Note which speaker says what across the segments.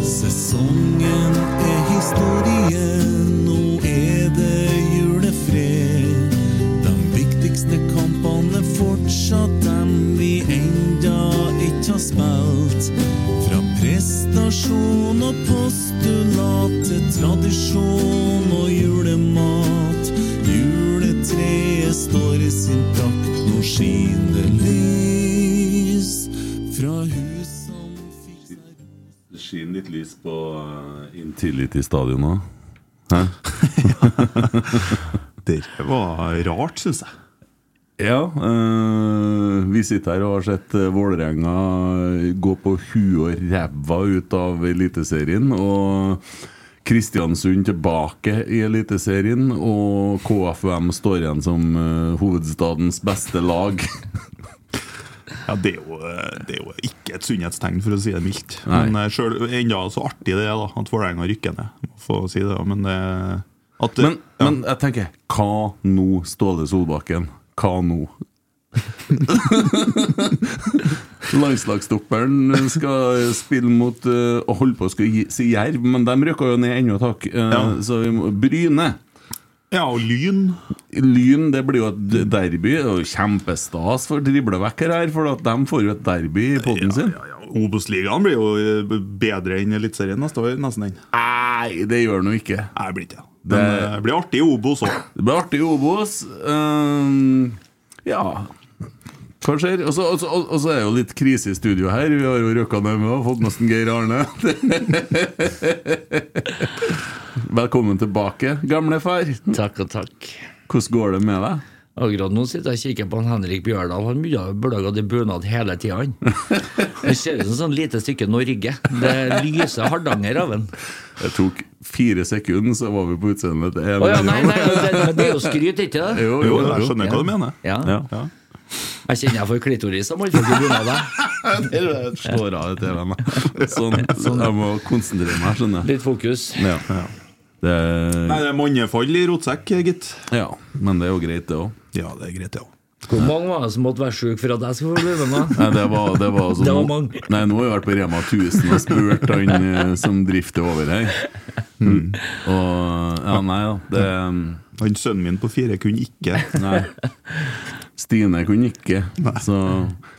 Speaker 1: Sesongen er historie, nå er det julefred. De viktigste kampene er fortsatt dem vi enda ikke har spilt. Fra prestasjon og postulat til tradisjon og julemat. Juletreet står i sin prakt, nå skinner lys fra hus som fikk seg
Speaker 2: Det skinner litt lys på eh, Intility Stadion nå. Hæ?
Speaker 3: Det var rart, syns jeg.
Speaker 2: Ja, eh, vi sitter her og har sett eh, Vålerenga eh, gå på huet og ræva ut av Eliteserien. Og Kristiansund tilbake i Eliteserien, og KFUM står igjen som eh, hovedstadens beste lag.
Speaker 3: Ja, det er, jo, eh, det er jo ikke et sunnhetstegn, for å si det mildt. Men eh, selv, enda så artig det er da, at Vålerenga rykker ned. Må få si det, da, men det at, eh,
Speaker 2: Men,
Speaker 3: ja,
Speaker 2: men jeg tenker, hva nå, Ståle Solbakken? Hva nå? Landslagsstopperen skal spille mot eh, Og holde på å skulle gi- si Jerv, men de røkka jo ned ennå, takk. Eh,
Speaker 3: Ja.
Speaker 2: Så vi må, Bryne.
Speaker 3: ja, og Lyn
Speaker 2: Lyn det blir jo et derby. Det er jo kjempestas for driblevekker her, for at de får jo et derby i poden sin.
Speaker 3: ja, ja, Obos-ligaen blir jo eh, bedre enn Eliteserien neste år, nesten. den. Nei,
Speaker 2: Nei, det gjør nå ikke.
Speaker 3: det blir ikke det. Men
Speaker 2: Det-
Speaker 3: eh, det blir artig i Obos òg.
Speaker 2: Det blir artig i Obos. Ehm, ja Hva skjer? Og så og så- og- og så er det jo litt krise i studio her. Vi har jo røkka ned med og fått nesten Geir Arne. Velkommen tilbake, gamle far.
Speaker 4: Takk og takk.
Speaker 2: Hvordan går det med deg?
Speaker 4: Akkurat nå sitter jeg og kikker på han Henrik Bjørdal. Han burde- burde ha gått i bunad hele tida, han. Det ser ut som sånn lite stykke Norge. Det lyser Hardanger av han.
Speaker 2: Det tok fire sekunder, så var vi på utseendet til en
Speaker 4: Å ja, nei, nei, det, men det er jo skryt, ikke det?
Speaker 3: Jo,
Speaker 2: Jo, jo,
Speaker 3: jeg
Speaker 2: jo.
Speaker 3: skjønner hva du mener.
Speaker 4: Ja.
Speaker 2: Ja.
Speaker 3: Ja.
Speaker 4: Jeg kjenner jeg får klitoris av mannfolk i bunader.
Speaker 2: Jeg slår av TV-en. da. Sånn, sånn. Jeg må konsentrere meg, skjønner jeg.
Speaker 4: Litt fokus.
Speaker 2: Ja.
Speaker 3: Nei,
Speaker 2: Det,
Speaker 3: det er mannefall i rotsekk, eh, gitt.
Speaker 2: ja. Men det er jo greit, det òg.
Speaker 3: Ja, det er greit, det òg.
Speaker 4: Hvor mange var det som måtte være sjuk for at jeg skulle få bli med? nå?
Speaker 2: Nei, det var, det var, altså,
Speaker 4: Det var
Speaker 2: nå-
Speaker 4: mange.
Speaker 2: Nei, nå har jeg vært på Rema 1000 og spurt han eh, som drifter over her. Mm. Og Ja, nei da. Det
Speaker 3: Han sønnen min på fire kunne ikke
Speaker 2: Nei. Stine kunne ikke. Så.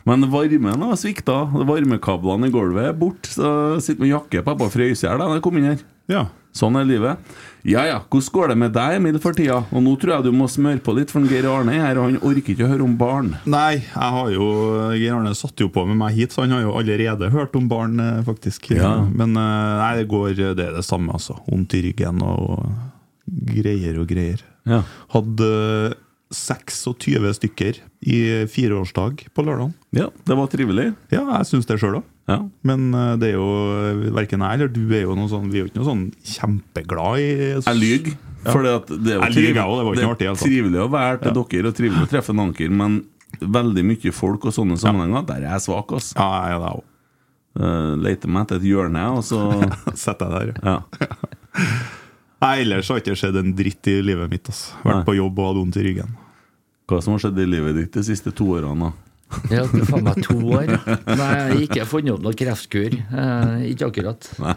Speaker 2: Men varmen har svikta. Varmekablene i gulvet er borte. Så jeg sitter med jakke på. Jeg bare frøs i hjel da jeg kom inn her.
Speaker 3: Ja.
Speaker 2: Sånn er livet. Ja ja, hvordan går det med deg, Emil, for tida? Og nå tror jeg du må smøre på litt, for Geir Arne er her, og han orker ikke å høre om barn.
Speaker 3: Nei, jeg har jo Geir Arne satt jo på med meg hit, så han har jo allerede hørt om barn, eh, faktisk.
Speaker 2: Ja.
Speaker 3: Men eh, nei, det går Det er det samme, altså. Vondt i ryggen og greier og greier.
Speaker 2: Ja.
Speaker 3: Hadde 26 stykker i fireårsdag på lørdag.
Speaker 2: ja det var trivelig.
Speaker 3: Ja, jeg syns det sjøl òg.
Speaker 2: Ja.
Speaker 3: Men eh, det er jo verken jeg eller du er jo noe sånn, vi er jo ikke noe sånn kjempeglad i
Speaker 2: Jeg lyver. For det, at det er jo
Speaker 3: Jeg lyger,
Speaker 2: trivelig-
Speaker 3: jeg også, det var ikke noe artig, altså.
Speaker 2: trivelig å være til dere og trivelig å treffe en anker, men veldig mye folk og sånne sammenhenger, der er jeg svak. ass
Speaker 3: Ja, jeg er det òg.
Speaker 2: Eh, Leter meg etter et hjørne, og så
Speaker 3: Setter jeg der.
Speaker 2: ja.
Speaker 3: Nei, ellers har ikke skjedd en dritt i livet mitt. Altså. Vært
Speaker 2: Nei.
Speaker 3: på jobb og hatt vondt i ryggen.
Speaker 2: Hva som har skjedd i livet ditt de siste to årene? da?
Speaker 4: Det har tatt faen meg to år. Nei, ikke jeg har funnet opp noen kreftkur. Eh, ikke akkurat.
Speaker 2: Nei,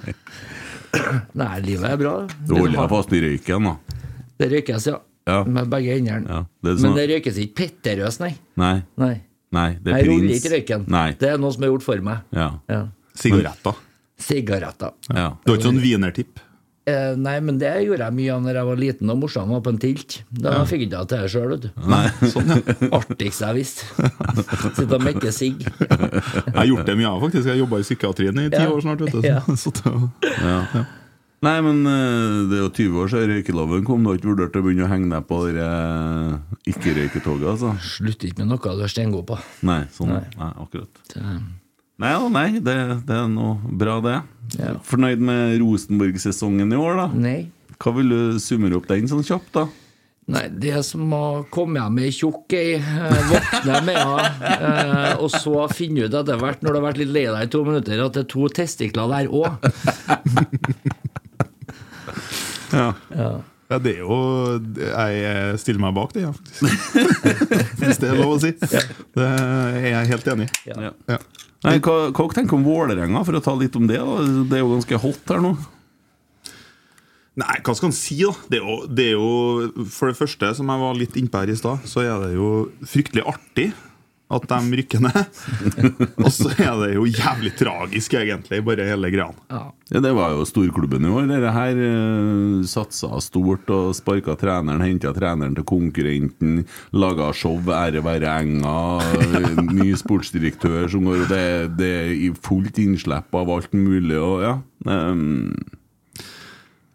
Speaker 4: Nei, livet er bra.
Speaker 2: Du holder deg
Speaker 4: har-
Speaker 2: fast i røyken, da.
Speaker 4: det røykes, ja.
Speaker 2: Ja.
Speaker 4: Med begge hendene.
Speaker 2: Ja, det er sånn-
Speaker 4: Men det røykes ikke petterøs, nei.
Speaker 2: Nei,
Speaker 4: nei.
Speaker 2: nei, det er
Speaker 4: Jeg ruller
Speaker 2: prins.
Speaker 4: ikke røyken.
Speaker 2: Nei.
Speaker 4: Det er noe som er gjort for meg.
Speaker 2: Ja.
Speaker 4: Ja.
Speaker 3: Sigaretter.
Speaker 4: Sigaretter.
Speaker 2: Ja.
Speaker 3: Du har ikke sånn wienertipp?
Speaker 4: Eh, nei, men det gjorde jeg mye av når jeg var liten og morsan var på en tilt. Da fikk jeg ikke til det sjøl, vet du. Sånn Artigst jeg visste. Sitte og mekke sigg.
Speaker 3: Jeg har gjort det mye, av, faktisk. Jeg jobba i psykiatrien i ti
Speaker 4: Ja.
Speaker 3: år snart. Vet du.
Speaker 4: Ja.
Speaker 3: Så, det var-
Speaker 2: Nei, men eh, det er jo 20 år siden røykeloven kom. Du har ikke vurdert å begynne å henge deg på det eh, ikke-røyketoget, altså?
Speaker 4: Slutt ikke med noe du er steingod på.
Speaker 2: Nei, sånn. Nei,
Speaker 4: Nei.
Speaker 2: akkurat.
Speaker 4: Det-
Speaker 2: Nei, ja, nei det, det er noe bra, det.
Speaker 4: Ja.
Speaker 2: Fornøyd med Rosenborg-sesongen i år, da?
Speaker 4: Nei.
Speaker 2: Hva vil du summere opp den sånn kjapt, da?
Speaker 4: Nei, det som å komme hjem med ei tjukk ei, eh, våkne med henne, eh, og så finne ut etter hvert, når du har vært litt lei deg i to minutter, at det er to testikler der òg.
Speaker 3: ja, det er jo Jeg stiller meg bak det, ja, faktisk. Hvis det er lov å si. Det er jeg helt enig i.
Speaker 2: Ja.
Speaker 3: Ja.
Speaker 2: Nei, hva, hva dere tenker om Vålerenga, for å ta litt om det? da Det er jo ganske hot her nå.
Speaker 3: Nei, hva skal en si, da? Det er, jo, det er jo For det første, som jeg var litt innpå her i stad, så er det jo fryktelig artig at de rykker ned. Og så er det jo jævlig tragisk, egentlig, bare hele greia.
Speaker 2: Ja, det var jo storklubben i år. Dere her eh, satsa stort og sparka treneren, henta treneren til konkurrenten, laga show, ære være enga, eh, ny sportsdirektør som går Det, det er i fullt innslipp av alt mulig og ja. ehm,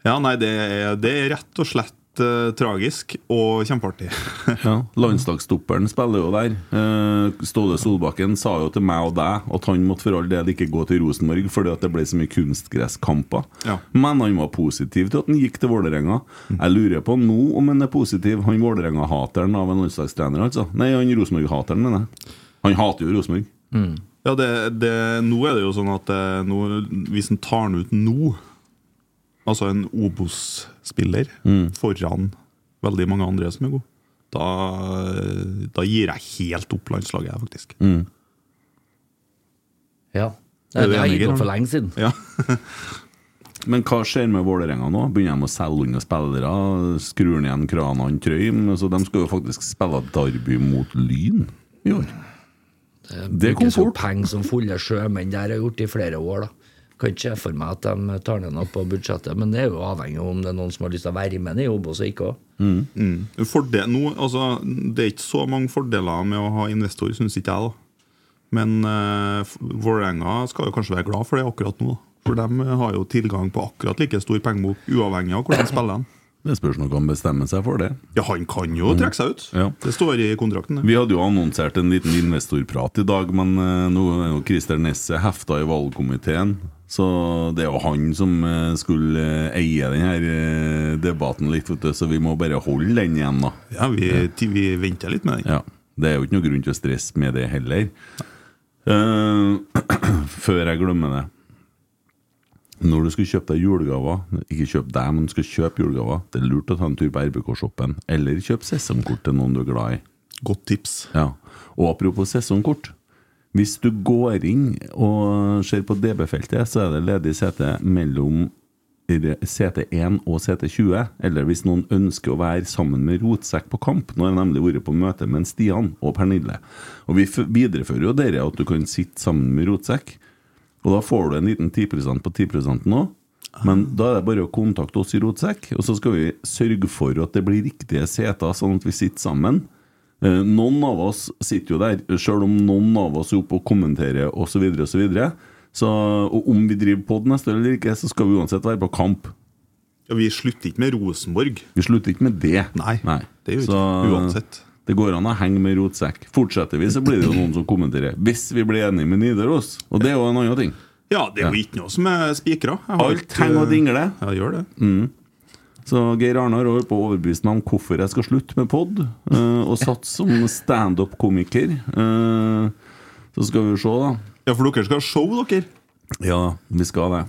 Speaker 3: Ja, nei, det er, det er rett og slett eh, tragisk og kjempeartig.
Speaker 2: ja. Landslagsstopperen spiller jo der. Eh, Ståle Solbakken sa jo til meg og deg at han måtte for all del ikke gå til Rosenborg fordi at det ble så mye kunstgresskamper.
Speaker 3: Ja.
Speaker 2: Men han var positiv til at han gikk til Vålerenga. Jeg lurer på nå om han er positiv, han Vålerenga-hateren av en landslagstrener, altså. Nei, han Rosenborg-hateren, mener jeg. Han hater jo Rosenborg.
Speaker 3: Ja, det, det, nå er det jo sånn at eh, nå, hvis en tar den ut nå, altså en Obos-spiller foran veldig mange andre som er gode, da, eh, da gir jeg helt opp landslaget, jeg, faktisk.
Speaker 4: Ja.
Speaker 3: Er
Speaker 4: Nei,
Speaker 3: du
Speaker 4: det har
Speaker 3: enig,
Speaker 4: jeg gitt opp
Speaker 3: Geir?
Speaker 4: for lenge siden.
Speaker 3: Ja.
Speaker 2: Men hva skjer med Vålerenga nå? Begynner de å selge unna spillere? Skrur han igjen kranene Trøim? Altså, de skal jo faktisk spille Derby mot Lyn i år. Det kom
Speaker 4: Brukes jo
Speaker 2: fort.
Speaker 4: penger som fulle sjømenn der har gjort i flere år, da. Kan ikke se for meg at de tar ned noe på budsjettet, men det er jo avhengig av om det er noen som har lyst til å være med i jobb, og så ikke òg.
Speaker 3: Fordel, nå, altså, det er ikke så mange fordeler med å ha investor, syns ikke jeg. da. Men eh, F- Vålerenga skal jo kanskje være glad for det akkurat nå. da. For de har jo tilgang på akkurat like stor pengebok, uavhengig av hvordan de spiller den.
Speaker 2: Det spørs om han bestemmer seg for det.
Speaker 3: Ja, han kan jo trekke seg ut.
Speaker 2: Ja.
Speaker 3: Det står i kontrakten. det.
Speaker 2: Vi hadde jo annonsert en liten investorprat i dag, men eh, nå er jo Christer Nesse hefta i valgkomiteen. Så det er jo han som eh, skulle eh, eie denne debatten litt, vet du, så vi må bare holde den igjen, da.
Speaker 3: Ja, vi, ti- vi venter litt med den.
Speaker 2: Ja, Det er jo ikke noe grunn til å stresse med det heller. Eh, før jeg glemmer det. Når du skal kjøpe deg julegaver Ikke kjøp deg, men du skal kjøpe julegaver. Det er lurt å ta en tur på RBK-shoppen, eller kjøp sesongkort til noen du er glad i.
Speaker 3: Godt tips.
Speaker 2: Ja, og apropos sesongkort Hvis du går inn og ser på DB-feltet Så er det ledig sete mellom CT1 og CT20 Eller hvis noen ønsker å være sammen med Rotsekk på kamp Nå har jeg nemlig vært på møte med Stian og Pernille Og vi f- viderefører jo dere at du kan sitte sammen med Rotsekk Og da får du en liten 10% på 10% nå men da er det bare å kontakte oss i Rotsekk, og så skal vi sørge for at det blir riktige seter, sånn at vi sitter sammen. Eh, Noen av oss sitter jo der, sjøl om noen av oss er oppe og kommenterer osv. Så videre, og så, videre. så og om vi driver pod neste år eller ikke, så skal vi uansett være på kamp.
Speaker 3: Ja, vi slutter ikke med Rosenborg.
Speaker 2: Vi slutter ikke med det.
Speaker 3: Nei, det gjør vi
Speaker 2: Så,
Speaker 3: ikke. Uansett.
Speaker 2: Det går an å henge med rotsekk. Fortsetter vi, så blir det jo noen som kommenterer. Hvis vi blir enige med Nidaros. Og det er jo en annen ting.
Speaker 3: Ja, det er jo ikke noe som er spikra. Jeg har
Speaker 2: Alt
Speaker 3: ikke-
Speaker 2: henger og dingler.
Speaker 3: Ja, gjør det.
Speaker 2: Så Geir Arne har holdt på å overbevise meg om hvorfor jeg skal slutte med pod, eh, og satse som standup-komiker. Eh, så skal vi jo se, da.
Speaker 3: Ja, for dere skal ha show, dere.
Speaker 2: Ja, vi skal det.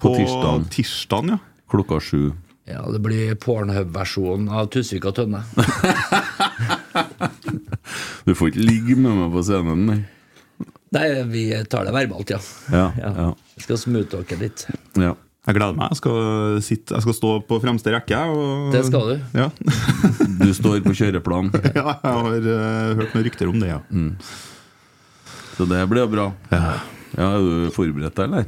Speaker 2: På tirsdag
Speaker 3: tirsdagen, ja.
Speaker 2: klokka sju.
Speaker 4: Ja, det blir Pornhub-versjonen av Tusvik og Tønne.
Speaker 2: Du får ikke ligge med meg på scenen, nei.
Speaker 4: Nei, vi tar det verbalt, ja.
Speaker 2: Ja, ja,
Speaker 4: ja. Jeg skal smute dere litt.
Speaker 2: ja.
Speaker 3: Jeg gleder meg. Jeg skal, sitte, jeg skal stå på fremste rekke. jeg, Og,
Speaker 4: Det skal du.
Speaker 3: Ja.
Speaker 2: Du står på kjøreplan,
Speaker 3: ja, jeg har eh, hørt noen rykter om det, ja.
Speaker 4: Mm.
Speaker 2: så det blir jo bra. Ja, Er du forberedt deg, eller?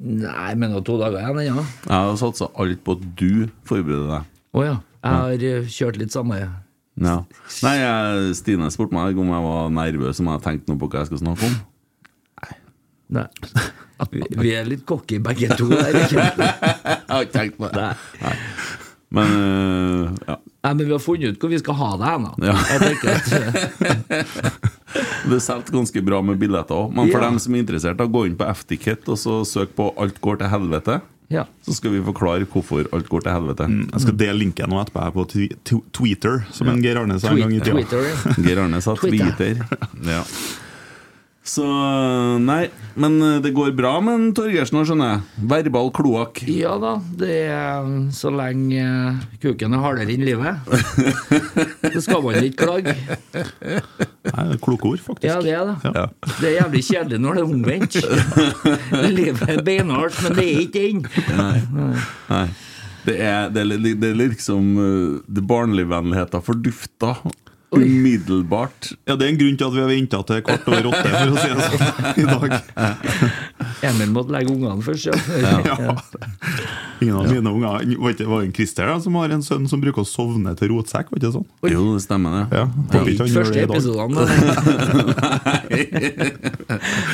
Speaker 4: Nei, men det er to dager igjen ennå. Ja.
Speaker 2: Jeg har satsa alt på at du forbereder deg.
Speaker 4: Å ja. Jeg har eh, kjørt litt samme.
Speaker 2: Ja. Nei, jeg, Stine spurte meg om jeg var nervøs om jeg tenkte noe på hva jeg skal snakke om.
Speaker 4: Nei. Vi, vi er litt cocky begge to. Der, ikke?
Speaker 2: Jeg har ikke tenkt på
Speaker 4: Nei.
Speaker 2: Men øh, ja.
Speaker 4: Nei, men vi har funnet ut hvor vi skal ha deg hen. da.
Speaker 2: Ja.
Speaker 4: Jeg tenker at, eh,
Speaker 2: det er solgt ganske bra med billetter òg. Men for
Speaker 4: Ja.
Speaker 2: dem som er interessert, da, gå inn på F-ticket og så søk på 'Alt går til helvete'.
Speaker 4: ja.
Speaker 2: Så skal vi forklare hvorfor alt går til helvete.
Speaker 3: Jeg skal dele linken nå etterpå her på twi- tw- Twitter, som en Geir Arne sa en gang i
Speaker 4: Tweet,
Speaker 3: tida.
Speaker 4: Twitter. ja.
Speaker 2: Geir Arne sa
Speaker 4: Twitter.
Speaker 2: tweeter. Ja. Så nei, men eh, det går bra med en Torgersen nå, skjønner jeg. Verbal kloakk.
Speaker 4: Ja da, det er eh, så lenge eh, kuken er hardere enn livet. Så skal man ikke klage.
Speaker 3: Nei, Kloke ord, faktisk.
Speaker 4: Ja, det er det.
Speaker 3: Ja.
Speaker 4: Det er jævlig kjedelig når det er omvendt. Livet er beinhardt, men det er ikke den.
Speaker 2: Nei. Det er, det, er, det er liksom uh, det barnligvennligheten fordufta umiddelbart.
Speaker 3: Ja, Det er en grunn til at vi har venta til kvart over åtte for å si det sånn i dag.
Speaker 4: Emil måtte legge ungene først, ja.
Speaker 3: Ja. Ingen av mine unger var ikke var det en Christer da, som har en sønn som bruker å sovne til rotsekk? var ikke det sånn?
Speaker 2: Jo, det stemmer, det.
Speaker 3: Ja,
Speaker 4: Det
Speaker 3: håper ikke
Speaker 4: er ikke
Speaker 3: han gjør
Speaker 4: første
Speaker 3: det i dag.
Speaker 4: episoden. da.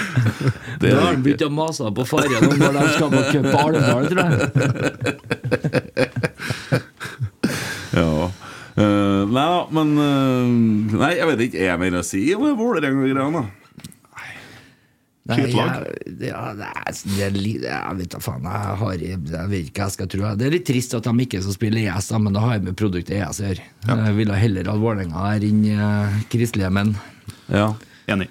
Speaker 2: Det
Speaker 4: Da
Speaker 2: er
Speaker 4: har han begynt å mase på fargen om når de skal på cup på Alvdal, tror jeg.
Speaker 2: Ja. Eh, nei da, men eh, Nei, jeg vet ikke. Er jeg mer å si om det Vålerenga-greiene, da?
Speaker 4: Nei,
Speaker 3: Skittlag.
Speaker 4: jeg- ja, det er, det er, li- jeg vet da faen, jeg, har, jeg vet ikke hva jeg skal tro. Det er litt trist at de ikke er som spiller ES, da, men da har jeg med produktet ES å gjøre. Jeg ville heller hatt Vålerenga her enn eh, kristelige menn.
Speaker 2: Ja.
Speaker 3: Enig.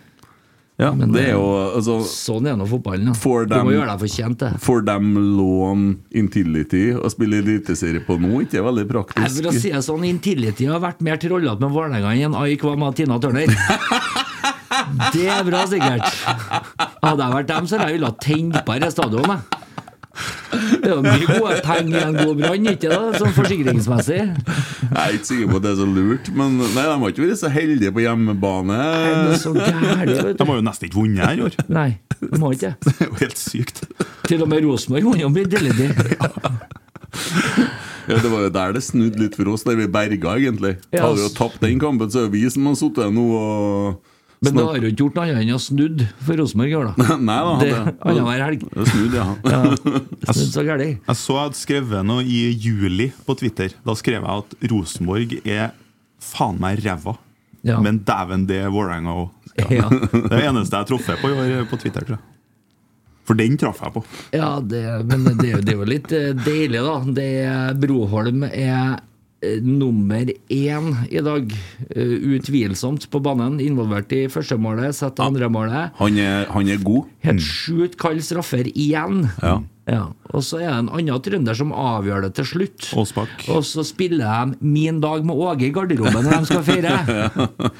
Speaker 2: ja det er jo altså,
Speaker 4: Sånn er nå fotballen. da.
Speaker 2: For
Speaker 4: Du
Speaker 2: dem-
Speaker 4: må gjøre deg fortjent, det.
Speaker 2: Får dem låne Intility og spille eliteserie på nå? Ikke veldig
Speaker 4: Jeg
Speaker 2: praktisk.
Speaker 4: vil si det sånn, Intility har vært mer trollete med Vålerenga enn AIK var med Tina Turner. Det er bra, sikkert. Hadde jeg vært dem, så hadde jeg ville ha tent på dette stadionet. Det er jo mye gode penger i en god brann, ikke da, sånn forsikringsmessig.
Speaker 2: Jeg er ikke sikker på at det er så lurt, men nei, de har ikke vært så heldige på hjemmebane.
Speaker 4: Det er så gærent, vet
Speaker 3: De
Speaker 4: du.
Speaker 3: har jo nesten ikke vunnet her i år.
Speaker 4: Nei, de har ikke det.
Speaker 3: Det er jo helt sykt.
Speaker 4: Til og med Rosenborg vant jo Intility.
Speaker 2: Ja, det var jo der det snudde litt for oss, der vi berga, egentlig.
Speaker 4: Ja,
Speaker 2: Hadde vi jo
Speaker 4: ass.
Speaker 2: tapt den kampen, så er det vi som har sittet nå og
Speaker 4: Men det har jo ikke gjort noe annet enn å snudd for Rosenborg i år, da.
Speaker 2: Nei da,
Speaker 4: Det
Speaker 2: det-
Speaker 4: annenhver helg.
Speaker 2: det snudd, ja.
Speaker 4: Snudd så gærent.
Speaker 3: Jeg så jeg hadde skrevet noe i juli på Twitter. Da skrev jeg at Rosenborg er faen meg ræva.
Speaker 4: Ja.
Speaker 3: Men dæven, det er Vålerenga òg.
Speaker 4: Ja.
Speaker 3: Det er det eneste jeg har truffet på i år eh, på Twitter. tror jeg For den traff jeg på.
Speaker 4: Ja, det, men det er, jo, det er jo litt eh, deilig, da. Det, er- Broholm er eh, nummer én i dag. eh, Utvilsomt på banen. Involvert i første målet, setter andre målet.
Speaker 2: Han er, han er god.
Speaker 4: Helt sjukt kald straffer igjen.
Speaker 2: Mm. Ja.
Speaker 4: Ja, Og så er det en annen trønder som avgjør det til slutt.
Speaker 3: Aasbakk.
Speaker 4: Og så spiller de 'Min dag med Åge' i garderoben når de skal feire.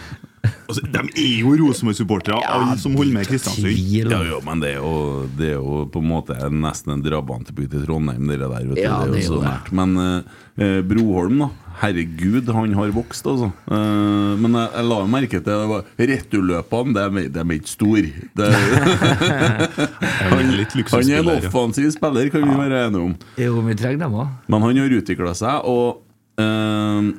Speaker 3: Altså, de er jo Rosenborg-supportere, alle som holder med i Kristiansund.
Speaker 4: Tvil.
Speaker 2: Ja, jo, men det er jo, det er jo på en måte en- nesten en drabantby til Trondheim, det der. Vet du.
Speaker 4: Ja,
Speaker 2: det er jo så
Speaker 4: det.
Speaker 2: nært. Men eh, eh, Broholm, da. Herregud, han har vokst, altså. Eh, men jeg, jeg la jo merke til det var returløpene, de er- de er ikke store.
Speaker 3: Han er litt
Speaker 2: Han er en
Speaker 3: luksusspiller. ja.
Speaker 2: offensiv spiller, kan vi være enige om.
Speaker 4: Jo, vi trenger dem òg.
Speaker 2: Men han har utvikla seg, og eh,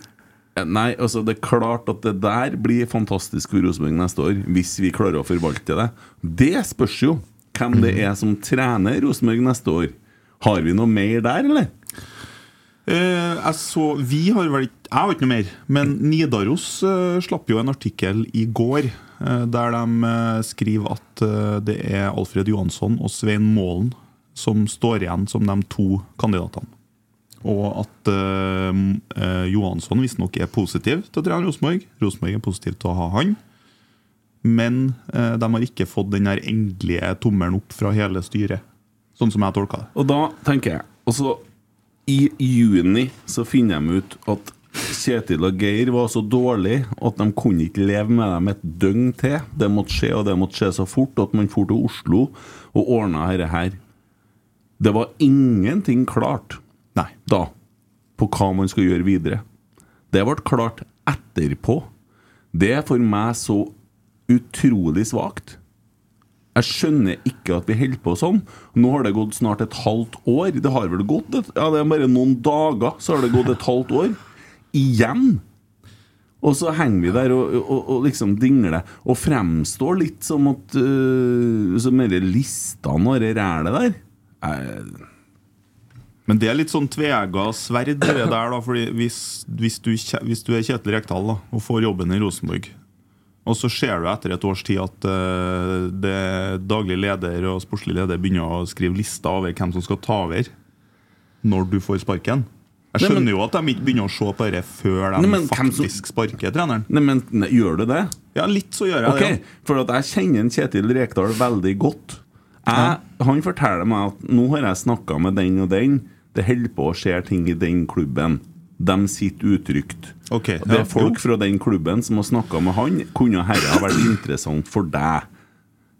Speaker 2: Nei, altså det er klart at det der blir fantastisk for Rosenborg neste år, hvis vi klarer å forvalte det. Det spørs jo hvem det er som trener Rosenborg neste år. Har vi noe mer der, eller?
Speaker 3: Eh, jeg så, vi har vel ikke Jeg har ikke noe mer. Men Nidaros eh, slapp jo en artikkel i går eh, der de eh, skriver at eh, det er Alfred Johansson og Svein Målen som står igjen som de to kandidatene. Og at eh, m- eh, Johansson visstnok er positiv til å trene Rosenborg. Rosenborg er positiv til å ha han. Men eh, de har ikke fått den der endelige tommelen opp fra hele styret. Sånn som jeg tolka det.
Speaker 2: Og da tenker jeg Altså, i juni så finner de ut at Kjetil og Geir var så dårlig at de kunne ikke leve med dem et døgn til. Det måtte skje, og det måtte skje så fort at man dro til Oslo og ordna dette her. Det var ingenting klart
Speaker 3: Nei.
Speaker 2: da på hva man skal gjøre videre. Det ble klart etterpå. Det er for meg så utrolig svakt. Jeg skjønner ikke at vi holder på sånn. Nå har det gått snart et halvt år. Det har vel gått et, ja, det er bare noen dager, så har det gått et halvt år. Igjen! Og så henger vi der og, og, og liksom dingler og fremstår litt som at øh, Som disse listene og det rælet der. Eh, Jeg,
Speaker 3: Men det er litt sånn tvega sverd, det der, da. Fordi hvis, hvis, du, kje- hvis du er Kjetil Rekdal da, og får jobben i Rosenborg, og så ser du etter et års tid at eh, det daglig leder og sportslig leder begynner å skrive lista over hvem som skal ta over når du får sparken. Jeg
Speaker 2: Nei, men-
Speaker 3: skjønner jo at de ikke begynner å se på dette før de
Speaker 2: Nei, men hvem som-
Speaker 3: faktisk sparker treneren.
Speaker 2: nei, men nei, gjør du det?
Speaker 3: Ja, litt så gjør jeg
Speaker 2: Ok,
Speaker 3: det. ja.
Speaker 2: For at jeg kjenner en Kjetil Rekdal veldig godt. Jeg, han forteller meg at nå har jeg snakka med den og den. Det holder på å skje ting i den klubben. De sitter utrygt.
Speaker 3: Ok,
Speaker 2: Og det
Speaker 3: ja,
Speaker 2: er folk
Speaker 3: jo.
Speaker 2: fra den klubben som har snakka med han. Kunne dette ha vært interessant for deg?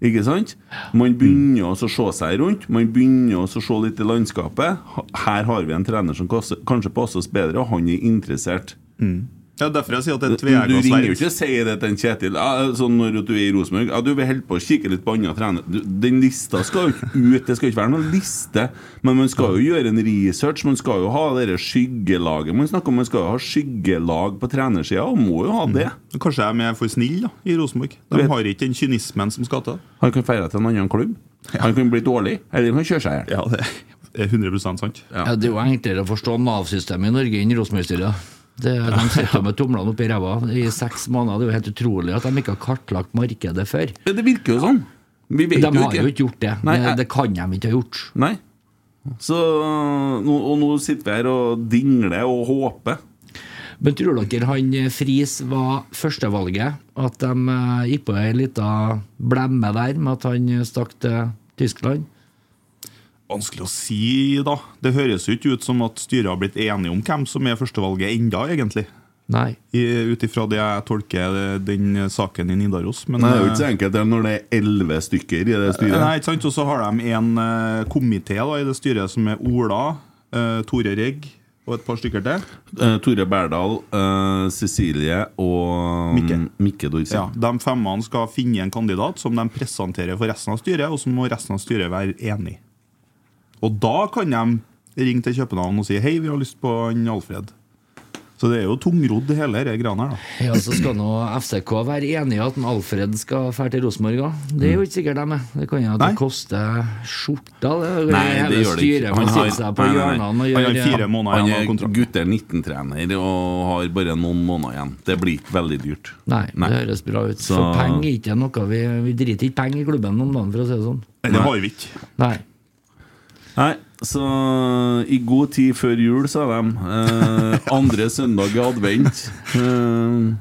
Speaker 2: Ikke sant? Man begynner også å se seg rundt, man begynner også å se litt i landskapet. Her har vi en trener som kanskje kanskje passer oss bedre, og han er interessert.
Speaker 3: Det er derfor jeg sier at det er
Speaker 2: Du ringer
Speaker 3: tvega
Speaker 2: jo
Speaker 3: sverd.
Speaker 2: ikke og sier det til en Kjetil ja, sånn når at du er i Rosenborg. Ja, du vil holde på å kikke litt på andre trener. Du, Den lista skal jo ikke ut. Det skal ikke være noen liste. Men man skal jo gjøre en research. Man skal jo ha det der skyggelaget. Man snakker om man skal jo ha skyggelag på trenersida, og må jo ha det.
Speaker 3: Kanskje de er for snille da, i Rosenborg. De
Speaker 2: Vet-
Speaker 3: har ikke den kynismen som skal til.
Speaker 2: Han kan feire til en annen klubb. Han kan bli dårlig, eller han kan kjøre seg i hjel.
Speaker 3: Ja, det er 100 sant.
Speaker 4: Ja, det er jo enklere å forstå Nav-systemet i Norge enn Rosenborg-styret. Det- De sitter jo med tomlene oppi ræva i seks måneder. Det er jo helt utrolig at de ikke har kartlagt markedet før.
Speaker 2: Ja, Det virker jo sånn. Vi vet
Speaker 4: De
Speaker 2: jo
Speaker 4: har
Speaker 2: ikke.
Speaker 4: jo ikke gjort det.
Speaker 2: Nei,
Speaker 4: Det,
Speaker 2: jeg-
Speaker 4: det kan de ikke ha gjort.
Speaker 2: Nei. Så, nå- og nå sitter vi her og dingler og håper.
Speaker 4: Men tror dere han eh, Friis var førstevalget? At de eh, gikk på ei lita blemme der med at han eh, stakk til Tyskland?
Speaker 3: Vanskelig å si, da. Det høres jo ikke ut som at styret har blitt enige om hvem som er førstevalget enda, egentlig.
Speaker 4: Nei.
Speaker 3: I- Ut ifra det jeg tolker eh, den saken i Nidaros. Men,
Speaker 2: Nei, det er jo ikke
Speaker 3: eh,
Speaker 2: så enkelt det er når det er elleve stykker i det styret.
Speaker 3: Nei, ikke sant? Og så har de en eh, komité da, i det styret som er Ola, eh, Tore Regg og et par stykker til.
Speaker 2: Eh, Tore Berdal, eh, Cecilie og mm,
Speaker 3: Mikke.
Speaker 2: Mikke Dorsin.
Speaker 3: Ja, De femmene skal finne en kandidat som de presenterer for resten av styret, og så må resten av styret være enig. Og da kan de ringe til København og si hei, vi har lyst på han Alfred. Så det er jo tungrodd, hele dette greiene her. da.
Speaker 4: Ja, så skal nå FCK være enig i at en Alfred skal dra til Rosenborg òg. Det er jo ikke sikkert de er. Det kan jo at det
Speaker 3: Nei.
Speaker 4: koster skjorta. Det, er jo
Speaker 2: Nei, det
Speaker 4: hele
Speaker 2: gjør det ikke.
Speaker 4: styret.
Speaker 2: Han
Speaker 4: Han
Speaker 2: har-
Speaker 4: sitter seg på
Speaker 2: nei, nei, nei.
Speaker 4: hjørnene og
Speaker 3: Han har
Speaker 4: gjør
Speaker 3: fire måneder
Speaker 2: Han
Speaker 3: igjen
Speaker 2: er
Speaker 3: av kontrakten.
Speaker 2: gutter 19-trener og har bare noen måneder igjen. Det blir ikke veldig dyrt.
Speaker 4: Nei, det høres bra ut. Så,
Speaker 2: Så-
Speaker 4: penger er ikke noe Vi, vi driter ikke penger i klubben om dagen, for å si det sånn.
Speaker 3: Nei, Det har vi ikke.
Speaker 4: Nei.
Speaker 2: Nei, så i god tid før jul, sa de. Eh, andre søndag i advent. Eh,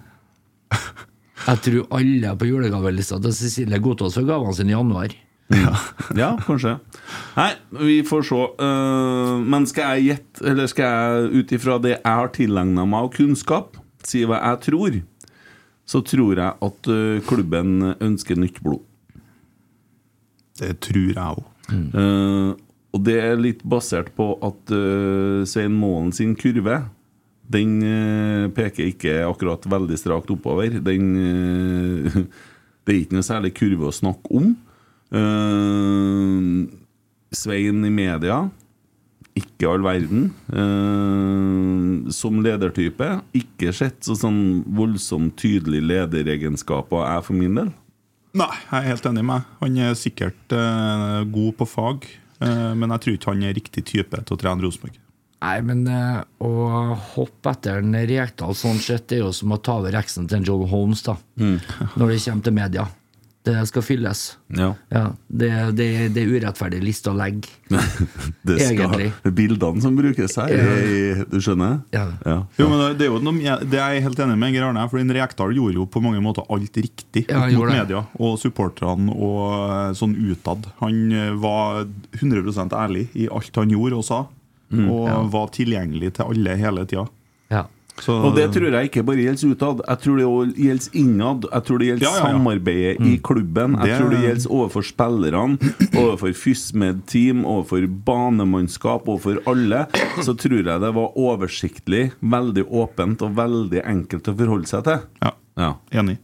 Speaker 4: Jeg tror alle på julegavelista til Cecilie Godtaas får gavene sine i januar.
Speaker 2: Ja, kanskje. Nei, vi får se. Eh, men skal jeg gjette, eller skal jeg ut ifra det jeg har tilegna meg av kunnskap, si hva jeg tror, så tror jeg at eh, klubben ønsker nytt blod.
Speaker 3: Det tror jeg òg.
Speaker 2: Eh, og det er litt basert på at eh, Svein Målen sin kurve den eh, peker ikke akkurat veldig strakt oppover. Den eh, Det er ikke noe særlig kurve å snakke om. Eh, Svein i media ikke all verden. Eh, som ledertype ikke sett så sånn voldsomt tydelig lederegenskaper, jeg for min del.
Speaker 3: Nei, jeg er helt enig med deg. Han er sikkert eh, god på fag, eh, men jeg tror ikke han er riktig type til å trene Rosenborg.
Speaker 4: Nei, men eh, å hoppe etter en Rekdal sånn sett det er jo som å ta over eksen til en John Holmes, da.
Speaker 3: Mm.
Speaker 4: Når det kommer til media. Det skal fylles.
Speaker 2: Ja.
Speaker 4: Ja, det, det, det er urettferdig liste å legge.
Speaker 2: Det skal,
Speaker 4: Egentlig.
Speaker 2: bildene som brukes her, er, du skjønner?
Speaker 4: Ja.
Speaker 3: Jo, men det- det er jo noe, jeg- det er jeg helt enig med Geir Arne, for den Rekdal gjorde jo på mange måter alt riktig
Speaker 4: Ja,
Speaker 3: opp
Speaker 4: han
Speaker 3: mot
Speaker 4: gjorde det.
Speaker 3: media og supporterne og eh, sånn utad. Han eh, var 100 ærlig i alt han gjorde og sa, og var tilgjengelig til alle hele tida.
Speaker 4: Ja.
Speaker 3: Så,
Speaker 2: Og det tror jeg ikke bare gjelder utad. Jeg tror det også gjelder innad. Jeg tror det gjelder
Speaker 3: Ja, ja, ja.
Speaker 2: samarbeidet i
Speaker 4: Mm.
Speaker 2: klubben. Jeg
Speaker 3: Det-
Speaker 2: tror det gjelder overfor spillerne, overfor FysMed-team, overfor banemannskap, overfor alle. Så tror jeg det var oversiktlig, veldig åpent og veldig enkelt å forholde seg til.
Speaker 3: Ja,
Speaker 2: Ja.
Speaker 3: enig.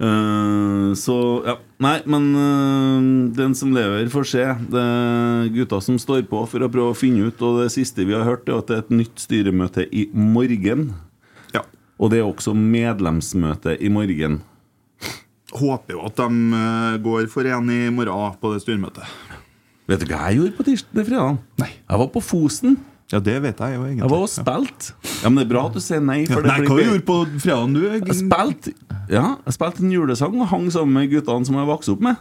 Speaker 2: Eh, så ja. Nei, men eh, den som lever, får se. Det er gutta som står på for å prøve å finne ut. Og det siste vi har hørt, er at det er et nytt styremøte i morgen.
Speaker 3: Ja.
Speaker 2: Og det er også medlemsmøte i morgen.
Speaker 3: Håper jo at de eh, går for en i morgen på det styremøtet.
Speaker 2: Vet du hva jeg gjorde på tirsdag fredag?
Speaker 3: Nei.
Speaker 2: Jeg var på Fosen.
Speaker 3: Ja, det vet jeg jo egentlig.
Speaker 2: Jeg var og spilte. Ja, men det er bra at du sier nei.
Speaker 3: Ja.
Speaker 2: For det
Speaker 3: Nei,
Speaker 2: blir
Speaker 3: hva
Speaker 2: bedre.
Speaker 3: du gjorde på fredagen, du? Eggen?
Speaker 2: Jeg spilte ja, jeg spilte en julesang og hang sammen med guttene som jeg vokste opp med.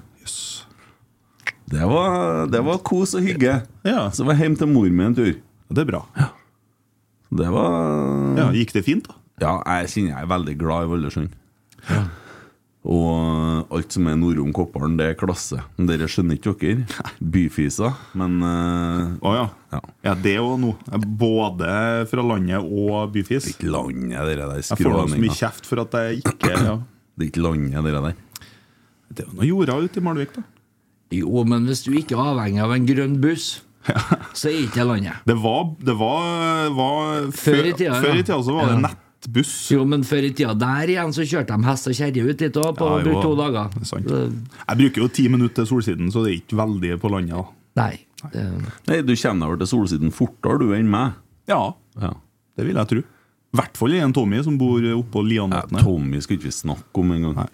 Speaker 2: Det, var, det var kos og hygge.
Speaker 3: Ja.
Speaker 2: Så var jeg hjemme til mor mi en tur.
Speaker 3: Det er bra.
Speaker 2: Det var
Speaker 3: Ja, Gikk det fint, da?
Speaker 2: Ja, jeg kjenner jeg er veldig glad i Valdresund. Og alt som er nordom Kopparen, det er klasse. Men Dere skjønner ikke dere. Byfiser. Men eh,
Speaker 3: Å ja.
Speaker 2: Ja.
Speaker 3: Ja, det òg nå. Både fra landet og byfis.
Speaker 2: landet, dere der
Speaker 3: Jeg får nå så mye
Speaker 2: skråninga.
Speaker 3: kjeft for at jeg ikke ja.
Speaker 2: Det er ikke landet, dere der.
Speaker 3: Det er jo noe jorda ute i Malvik, da.
Speaker 4: Jo, men hvis du ikke er avhengig av en grønn buss, så er ikke det landet.
Speaker 3: Det var, det var, var
Speaker 4: Før i tida, ja.
Speaker 3: før i tida så var det
Speaker 4: Ja.
Speaker 3: nettbuss.
Speaker 4: Jo, men før i tida der igjen så kjørte de hest og kjerre ut dit òg, på
Speaker 3: Ja, jo,
Speaker 4: brukte to dager.
Speaker 3: Det er sant.
Speaker 4: Det-
Speaker 3: Jeg bruker jo ti minutter til solsiden, så det er ikke veldig på landet. da.
Speaker 4: Nei. Det,
Speaker 2: Nei, du kommer deg over til solsiden fortere du enn meg.
Speaker 3: Ja,
Speaker 2: Ja.
Speaker 3: det vil jeg tro. I hvert fall en Tommy som bor oppå
Speaker 2: Ja,
Speaker 3: Lianvatnet.
Speaker 2: Tommy skulle ikke vi snakke om engang.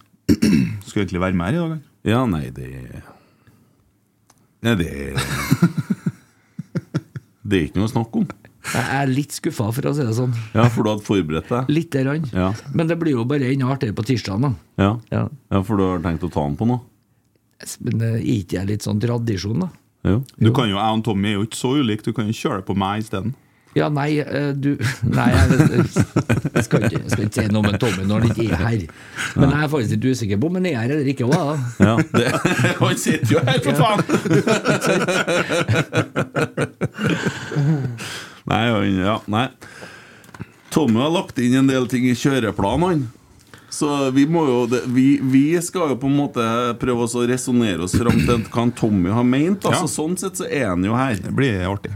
Speaker 3: Skulle egentlig være med her i dag. han.
Speaker 2: Ja, nei, det Nei, det Det er ikke noe å snakke om.
Speaker 4: jeg er litt skuffa, for å si det sånn.
Speaker 2: Ja, for du hadde forberedt deg?
Speaker 4: Lite grann.
Speaker 2: Ja.
Speaker 4: Men det blir jo bare enda artigere på tirsdag, da.
Speaker 2: Ja.
Speaker 4: Ja.
Speaker 2: ja, for du har tenkt å ta den på noe?
Speaker 4: Men det er ikke det litt sånn tradisjon, da?
Speaker 2: Jo.
Speaker 3: Du kan jo, Jeg og Tommy er jo ikke så ulike, du kan jo kjøre på meg isteden.
Speaker 4: Ja, nei, eh, du Nei, jeg, jeg, skal ikke, jeg skal ikke si noe om en Tommy når han ikke er her. Men jeg er faktisk litt usikker på om han er her eller ikke. Hva, da?
Speaker 2: Ja, det, han sitter jo her, for faen! nei, han Ja, nei. Tommy har lagt inn en del ting i kjøreplanen, han. Så vi må jo det, vi, vi skal jo på en måte prøve oss å resonnere oss fram til hva han Tommy har meint. Altså,
Speaker 3: Ja.
Speaker 2: Sånn sett så er han jo her.
Speaker 3: Det blir artig.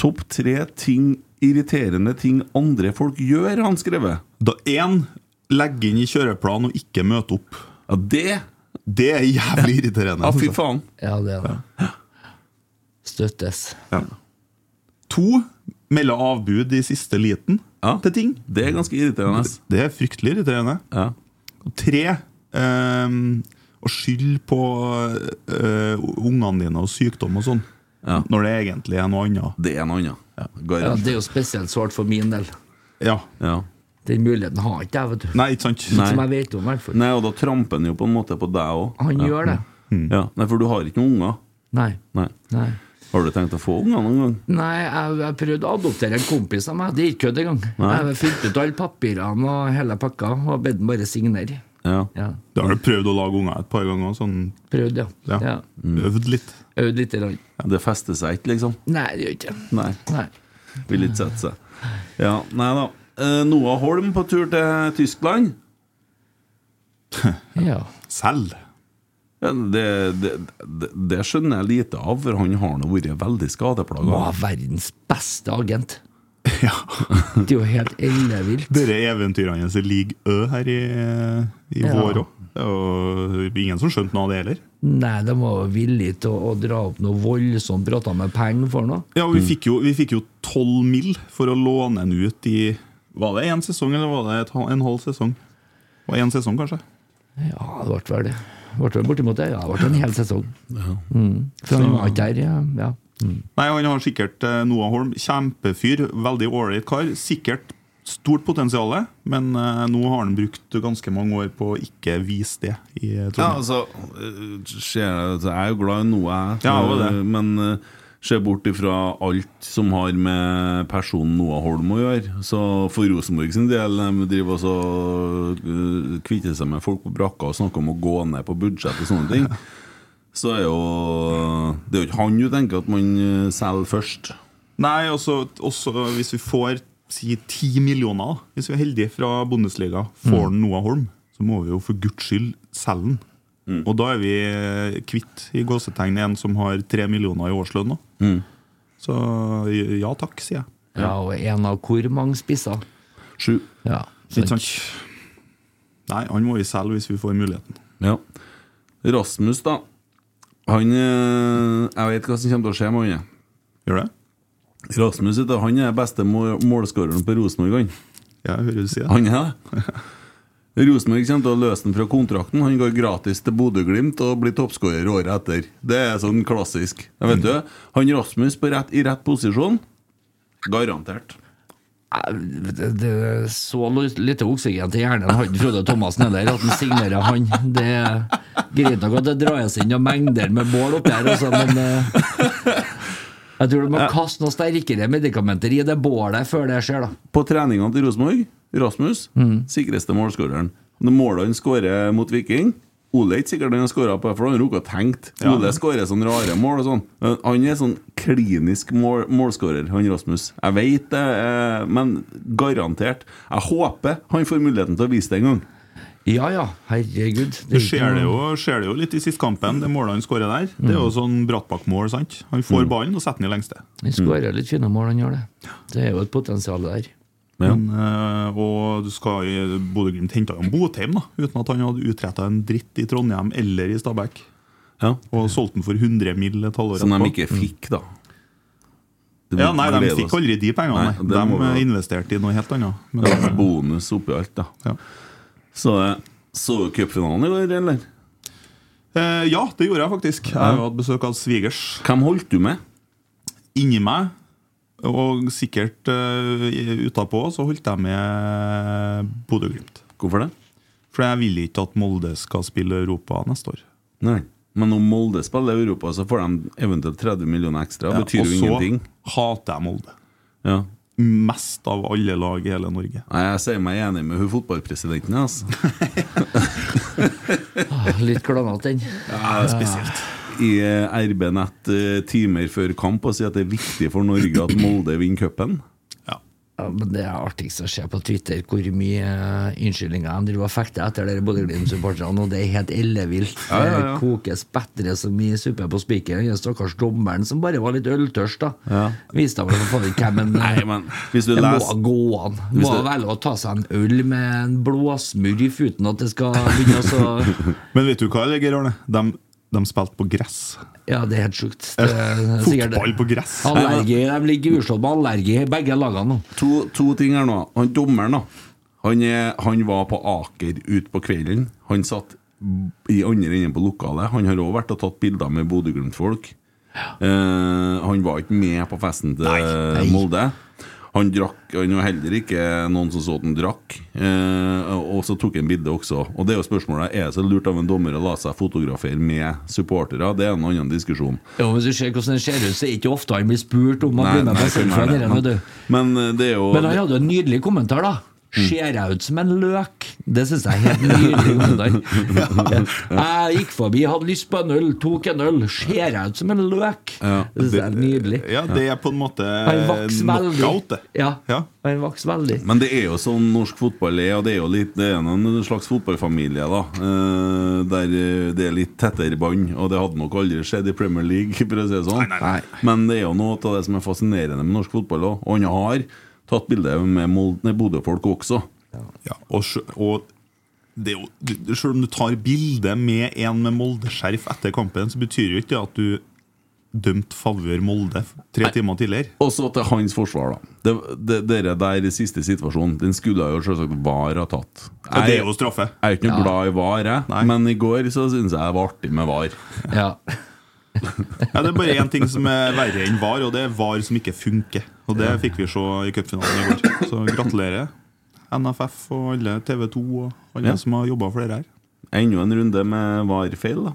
Speaker 2: Topp tre ting irriterende ting andre folk gjør, har han skrevet.
Speaker 3: Da én legger inn i kjøreplan og ikke møter opp.
Speaker 2: Ja, det
Speaker 3: Det er jævlig irriterende. altså.
Speaker 2: Ja, fy
Speaker 3: synes jeg.
Speaker 2: faen.
Speaker 4: Ja, det er det. Støttes.
Speaker 3: Ja. To melder avbud i siste liten
Speaker 2: Ja.
Speaker 3: til ting.
Speaker 2: Det er ganske irriterende. ass.
Speaker 3: Det er fryktelig irriterende.
Speaker 2: Ja.
Speaker 3: Og tre ehm, å skylde på eh, ungene dine og sykdom og sånn,
Speaker 2: Ja.
Speaker 3: når det egentlig er noe annet.
Speaker 2: Det er noe annet.
Speaker 4: Ja,
Speaker 2: Garant.
Speaker 4: det er jo spesielt sårt for min del.
Speaker 3: Ja.
Speaker 2: Ja.
Speaker 4: Den muligheten har ikke jeg, vet du.
Speaker 3: Nei, ikke sant?
Speaker 2: Nei.
Speaker 4: Som jeg vet om, i hvert fall.
Speaker 2: Nei, og da tramper han jo på en måte på deg òg.
Speaker 4: Han
Speaker 2: ja.
Speaker 4: gjør det.
Speaker 2: Ja. Nei, for du har ikke noen unger.
Speaker 4: Nei.
Speaker 2: Nei.
Speaker 4: Nei,
Speaker 2: Har du tenkt å få unger noen gang?
Speaker 4: Nei jeg, jeg prøvde å adoptere en kompis av meg. Det gikk jo ikke engang. Jeg fylte ut alle papirene og hele pakka og bedt ham bare signere.
Speaker 2: Ja.
Speaker 4: Ja.
Speaker 3: Du har jo prøvd å lage unger et par ganger, sånn
Speaker 4: Prøvde, ja.
Speaker 3: Ja.
Speaker 4: ja.
Speaker 3: øvd litt.
Speaker 4: Øvde lite grann.
Speaker 2: Det fester seg ikke, liksom.
Speaker 4: Nei, det gjør ikke det.
Speaker 2: Nei.
Speaker 4: Nei.
Speaker 2: Vil ikke sette seg. Ja, nei da. Eh, Noah Holm på tur til Tyskland.
Speaker 4: Ja.
Speaker 3: Selv.
Speaker 2: Ja, Det, det, det, det skjønner jeg lite av, for han har nå vært veldig skadeplaga.
Speaker 4: Var verdens beste agent.
Speaker 3: Ja.
Speaker 4: Det er jo helt ellevilt.
Speaker 3: Dere eventyrene hans i League Ø her i, i
Speaker 4: Ja.
Speaker 3: vår òg. Og ingen som skjønte noe av det heller.
Speaker 4: Nei, de var jo villige til å, å dra opp noe voldsomt, prata med penger for noe.
Speaker 3: Ja, og vi fikk jo, vi fikk jo 12 mill. for å låne den ut i Var det én sesong, eller var det et, hal- en halv sesong? Det var én sesong, kanskje.
Speaker 4: Ja, det ble vel det. Ble vel bortimot det. Ja, det ble en hel sesong. Mm. For han var ikke der, ja. ja.
Speaker 3: Nei, Han har sikkert eh, Noah Holm. Kjempefyr. Veldig ålreit kar. Sikkert stort potensial, men eh, nå har han brukt ganske mange år på å ikke vise det i eh,
Speaker 2: Ja,
Speaker 3: Trondheim.
Speaker 2: altså øh, ser Jeg jeg er jo glad i noe, jeg.
Speaker 3: Ja, jeg er det.
Speaker 2: Men øh, ser bort ifra alt som har med personen Noah Holm å gjøre. Så for Rosenborg sin del, de driver også øh, kvitter seg med folk på brakka og snakker om å gå ned på budsjett og sånne ting. Så er jo eh, Det er jo ikke han du tenker at man øh, selger først.
Speaker 3: Nei, også, også hvis vi får si ti millioner, da, hvis vi er heldige fra Bundesliga, får han Noah Holm, så må vi jo for guds skyld selge den. Og da er vi eh, kvitt i gåsetegn en som har tre millioner i årslønn nå. Så eh, ja takk, sier jeg.
Speaker 4: Ja, og en av hvor mange spisser?
Speaker 2: Sju.
Speaker 4: Ja,
Speaker 3: Ikke
Speaker 4: sant.
Speaker 3: sant? Nei, han må vi selge hvis vi får muligheten.
Speaker 2: Ja. Rasmus, da. Han øh, Jeg vet hva som kommer til å skje med han. jeg.
Speaker 3: Gjør det?
Speaker 2: Rasmus vet du, han er beste må- målskåreren på Rosenborg. Han.
Speaker 3: Ja, jeg hører du si det.
Speaker 2: han er det. Rosenborg kommer til å løse den fra kontrakten. Han går gratis til Bodø-Glimt og blir toppskårer året etter. Det er sånn klassisk. Jeg vet du, Han Rasmus på rett, i rett posisjon garantert.
Speaker 4: Eh, Det, det er så ly- lite oksygen til hjernen har ikke Frode Thomassen heller, at han signerer han. Det er greit nok at det dras inn noen mengder med bål oppi her, altså, men eh, jeg tror du må kaste noen sterkere medikamenter i det bålet før det skjer, da.
Speaker 2: På treningene til Rosenborg, Rasmus,
Speaker 3: Mm.
Speaker 2: sikreste målskåreren. Når målet han skårer mot Viking Ole er ikke sikkert han har skåra på, for han har rukket å tenkt. Ole skårer sånne rare mål og sånn. Men Han er sånn klinisk mål, målskårer, han Rasmus. Jeg veit det, eh, men garantert. Jeg håper han får muligheten til å vise det en gang.
Speaker 4: Ja ja, herregud. Det er
Speaker 3: Du
Speaker 4: ikke
Speaker 3: ser det
Speaker 4: noe-
Speaker 3: jo, ser det jo litt i siste kampen, det målet han skårer der. Det er jo sånn Brattbakk-mål, sant? Han får ballen og setter den i lengste.
Speaker 4: Han skårer litt fine mål, han gjør det. Det er jo et potensial der.
Speaker 3: Men, eh, og du skal i- Bodø-Glimt henta jo en Botheim, da, uten at han hadde utretta en dritt i Trondheim eller i Stabæk.
Speaker 2: Ja.
Speaker 3: Og solgte den for 100 mill. et halvår
Speaker 2: Som de
Speaker 3: etterpå.
Speaker 2: ikke fikk, da. Det
Speaker 3: Mm.
Speaker 2: må
Speaker 3: Ja, nei, De
Speaker 2: glede
Speaker 3: fikk
Speaker 2: oss.
Speaker 3: aldri de pengene.
Speaker 2: Nei,
Speaker 3: Nei,
Speaker 2: det
Speaker 3: de
Speaker 2: må vi-
Speaker 3: eh, investerte i noe helt annet. Men,
Speaker 2: Det var bonus oppi alt, da.
Speaker 3: Ja.
Speaker 2: Så eh, så du cupfinalen i går, eller?
Speaker 3: eh, ja, det gjorde jeg faktisk. Jeg har jo hatt besøk av svigers
Speaker 2: Hvem holdt du med?
Speaker 3: inni meg. Og sikkert uh, utapå så holdt jeg med Bodø-Glimt.
Speaker 2: Hvorfor det?
Speaker 3: For jeg vil ikke at Molde skal spille Europa neste år.
Speaker 2: Nei. Men om Molde spiller i Europa, så får de eventuelt 30 millioner ekstra.
Speaker 3: Ja,
Speaker 2: Betyr
Speaker 3: og
Speaker 2: jo
Speaker 3: så
Speaker 2: ingenting.
Speaker 3: hater jeg Molde.
Speaker 2: Ja.
Speaker 3: Mest av alle lag i hele Norge.
Speaker 2: Nei, jeg sier meg enig med hun fotballpresidenten. Altså.
Speaker 4: Ah, Litt glanete, den.
Speaker 2: Ja, spesielt. I eh, RB Nett eh, timer før kamp og sier at det er viktig for Norge at Molde vinner cupen.
Speaker 4: Ja, men det er artigst å se på Twitter hvor mye eh, unnskyldninger de driver og fekter etter dere Bodø-Glimt-supporterne, og det er helt ellevilt. Det
Speaker 2: ja, ja.
Speaker 4: kokes bedre så mye suppe på spikeren. Den stakkars dommeren som bare var litt øltørst, da.
Speaker 2: Ja.
Speaker 4: Viste han vel for faen ikke hvem en
Speaker 2: Nei, men hvis du
Speaker 4: Det må
Speaker 2: leser
Speaker 4: gå an. Det
Speaker 2: Hvis
Speaker 4: må
Speaker 2: det-
Speaker 4: vel å ta seg en øl med en blåsmurv uten at det skal begynne å så
Speaker 3: Men vet du hva, Geir Arne? De, de spilte på gress.
Speaker 4: Ja, det er helt sjukt. Det er sikkert-
Speaker 3: Fotball på gress!
Speaker 4: Allergi, De ligger uslått med allergi, i begge lagene. nå.
Speaker 2: to, to ting her nå. Han dommeren, da. Han, er, han var på Aker ut på kvelden. Han satt i andre enden på lokalet. Han har òg vært og tatt bilder med Bodø-Glimt-folk. Eh, han var ikke med på festen til
Speaker 4: nei.
Speaker 2: Molde. Han drakk Han var heller ikke noen som så at han drakk. Eh, og så tok han bilde også. Og det er jo spørsmålet Er det så lurt av en dommer å la seg fotografere med supportere? Det er en annen diskusjon.
Speaker 4: Ja, Hvis du ser hvordan det ser ut, så er det ikke ofte han blir spurt om han
Speaker 2: Nei,
Speaker 4: blir med
Speaker 2: nei,
Speaker 4: på
Speaker 2: jeg skjønner
Speaker 4: selfien.
Speaker 2: det,
Speaker 4: eller noe,
Speaker 2: men-
Speaker 4: du.
Speaker 2: Men eh, det er jo
Speaker 4: Men han hadde jo en nydelig kommentar, da. Ser jeg ut som en løk? Det syns jeg er helt nydelig. kommentar Jeg gikk forbi, hadde lyst på en øl, tok en øl. Ser jeg ut som en løk? Det syns jeg er nydelig.
Speaker 3: Ja, det er på en måte
Speaker 4: Han vokser
Speaker 3: knockout,
Speaker 4: veldig.
Speaker 3: det.
Speaker 4: Ja,
Speaker 3: Ja.
Speaker 4: han vokser veldig.
Speaker 2: Men det er jo sånn norsk fotball er, og det er jo litt, det er en slags fotballfamilie, da. eh, der eh, det er litt tettere bånd, og det hadde nok aldri skjedd i Premier League, for å si det sånn.
Speaker 3: Nei, nei, nei.
Speaker 2: Men det er jo noe av det som er fascinerende med norsk fotball òg. Og han har tatt bilde med Mol- nei, Bodø-folk også.
Speaker 3: Ja, og, sjø- og det er jo, du- selv om du tar bilde med en med Molde-skjerf etter kampen, så betyr jo ikke det at du dømte favør Molde tre timer tidligere.
Speaker 2: Og så til hans forsvar, da. Det, det, dere der i siste situasjonen, den skulle jo selvsagt VAR ha tatt.
Speaker 3: Ja, det er jo straffe.
Speaker 2: Jeg er jo ikke noe glad i VAR, jeg, men i går så syns jeg det var artig med VAR.
Speaker 4: Ja.
Speaker 3: Ja, det er bare én ting som er verre enn VAR, og det er VAR som ikke funker. Og det fikk vi se i cupfinalen i går. Så gratulerer NFF og alle TV 2 og alle
Speaker 2: Ja.
Speaker 3: som har jobba for det her.
Speaker 2: Enda en runde med VAR-feil, da.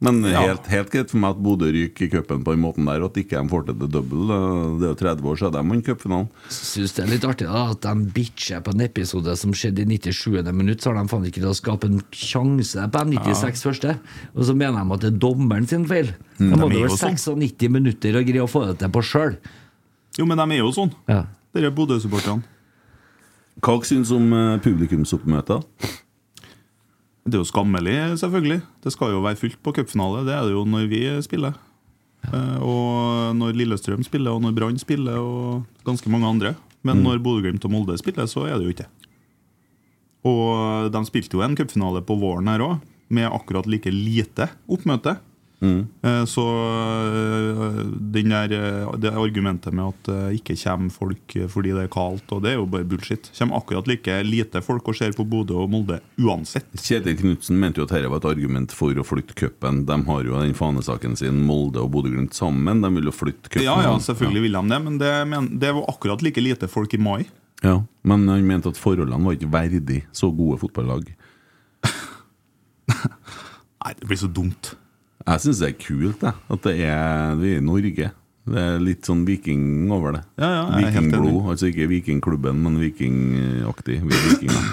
Speaker 2: Men
Speaker 3: Ja.
Speaker 2: helt, helt greit for meg at Bodø ryker i cupen på den måten der, og at ikke de får til det double. Det er jo 30 år siden de vant cupfinalen.
Speaker 4: Syns det er litt artig da at de bitcher på en episode som skjedde i 97. minutt, så har de faen ikke til å skape en sjanse på de 96 første. Og så mener de at det er dommeren sin feil. De må
Speaker 3: de
Speaker 4: jo
Speaker 3: er
Speaker 4: være
Speaker 3: jo sånn.
Speaker 4: 96 minutter og greie å få det til på sjøl.
Speaker 3: Jo, men de er jo sånn,
Speaker 4: Ja.
Speaker 3: dere Bodø-supporterne.
Speaker 2: Hva dere syns om eh, publikumsoppmøtet?
Speaker 3: Det er jo skammelig, selvfølgelig. Det skal jo være fullt på cupfinale. Det er det jo når vi spiller. Eh, Og når Lillestrøm spiller, og når Brann spiller, og ganske mange andre. Men når Bodø-Glimt og Molde spiller, så er det jo ikke det. Og de spilte jo en cupfinale på våren her òg, med akkurat like lite oppmøte. Eh, Så eh, den der, eh, det argumentet med at eh, ikke kommer folk eh, fordi det er kaldt, og det er jo bare bullshit. Kommer akkurat like lite folk og ser på Bodø og Molde uansett.
Speaker 2: Kjetil Knutsen mente jo at dette var et argument for å flytte cupen. De har jo den fanesaken sin, Molde og Bodø-Glimt sammen. De vil jo flytte cupen.
Speaker 3: Ja, ja, selvfølgelig vil de det, men det, men det var akkurat like lite folk i mai.
Speaker 2: Ja, Men han mente at forholdene var ikke verdig så gode fotballag.
Speaker 3: Nei, det blir så dumt.
Speaker 2: Jeg syns det er kult jeg, at det er, vi er i Norge. Det er litt sånn viking over det.
Speaker 3: Ja, ja, jeg er helt
Speaker 2: Vikingblod. Altså ikke vikingklubben, men vikingaktig. Vi er vikinger.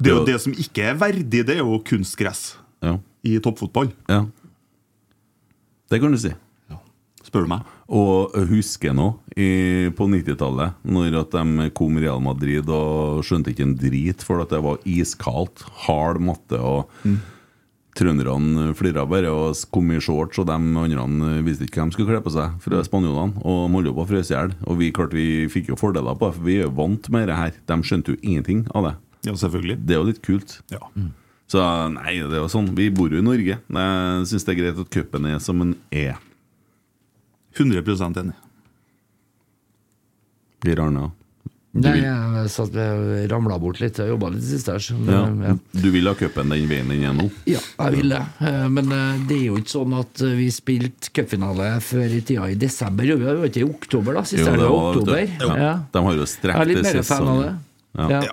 Speaker 3: Det er jo
Speaker 2: Ja.
Speaker 3: det som ikke er verdig, det er jo kunstgress
Speaker 2: Ja.
Speaker 3: i toppfotball.
Speaker 2: ja. Det kan du si.
Speaker 3: Spør du meg?
Speaker 2: Og husker nå, i, på 90-tallet, når at de kom Real Madrid og skjønte ikke en drit, for at det var iskaldt, hard matte, og trønderne flira bare og kom i shorts, og de andre visste ikke hva de skulle kle på seg, fra spanjolene, og de holdt jo på å fryse i hjel. Og vi, klart, vi fikk jo fordeler på det, for vi er jo vant med det her. De skjønte jo ingenting av det.
Speaker 3: Ja, selvfølgelig.
Speaker 2: Det er jo litt kult.
Speaker 3: Ja.
Speaker 2: Så nei, det er jo sånn. Vi bor jo i Norge. Jeg syns det er greit at cupen er som den er.
Speaker 3: 100 enig.
Speaker 2: Blir Arne. Du
Speaker 4: Nei,
Speaker 2: vil-
Speaker 4: jeg satt, jeg ramla bort litt. Jeg jobba litt sist her. så det-
Speaker 2: Ja.
Speaker 4: Mm, ja.
Speaker 2: Du vil ha cupen den veien den er nå?
Speaker 4: Ja, jeg vil det. Eh, Men eh, det er jo ikke sånn at eh, vi spilte cupfinale før i tida i desember. Vi var jo ikke i oktober, da. Sist
Speaker 2: Jo,
Speaker 4: helg
Speaker 2: det
Speaker 4: var
Speaker 2: var det, vet du.
Speaker 4: oktober.
Speaker 2: Ja.
Speaker 4: Ja.
Speaker 2: De har jo
Speaker 4: Jeg er
Speaker 2: strekt
Speaker 4: litt mer fan av det.
Speaker 2: sesongen. Ja.
Speaker 4: Ja.
Speaker 3: Ja.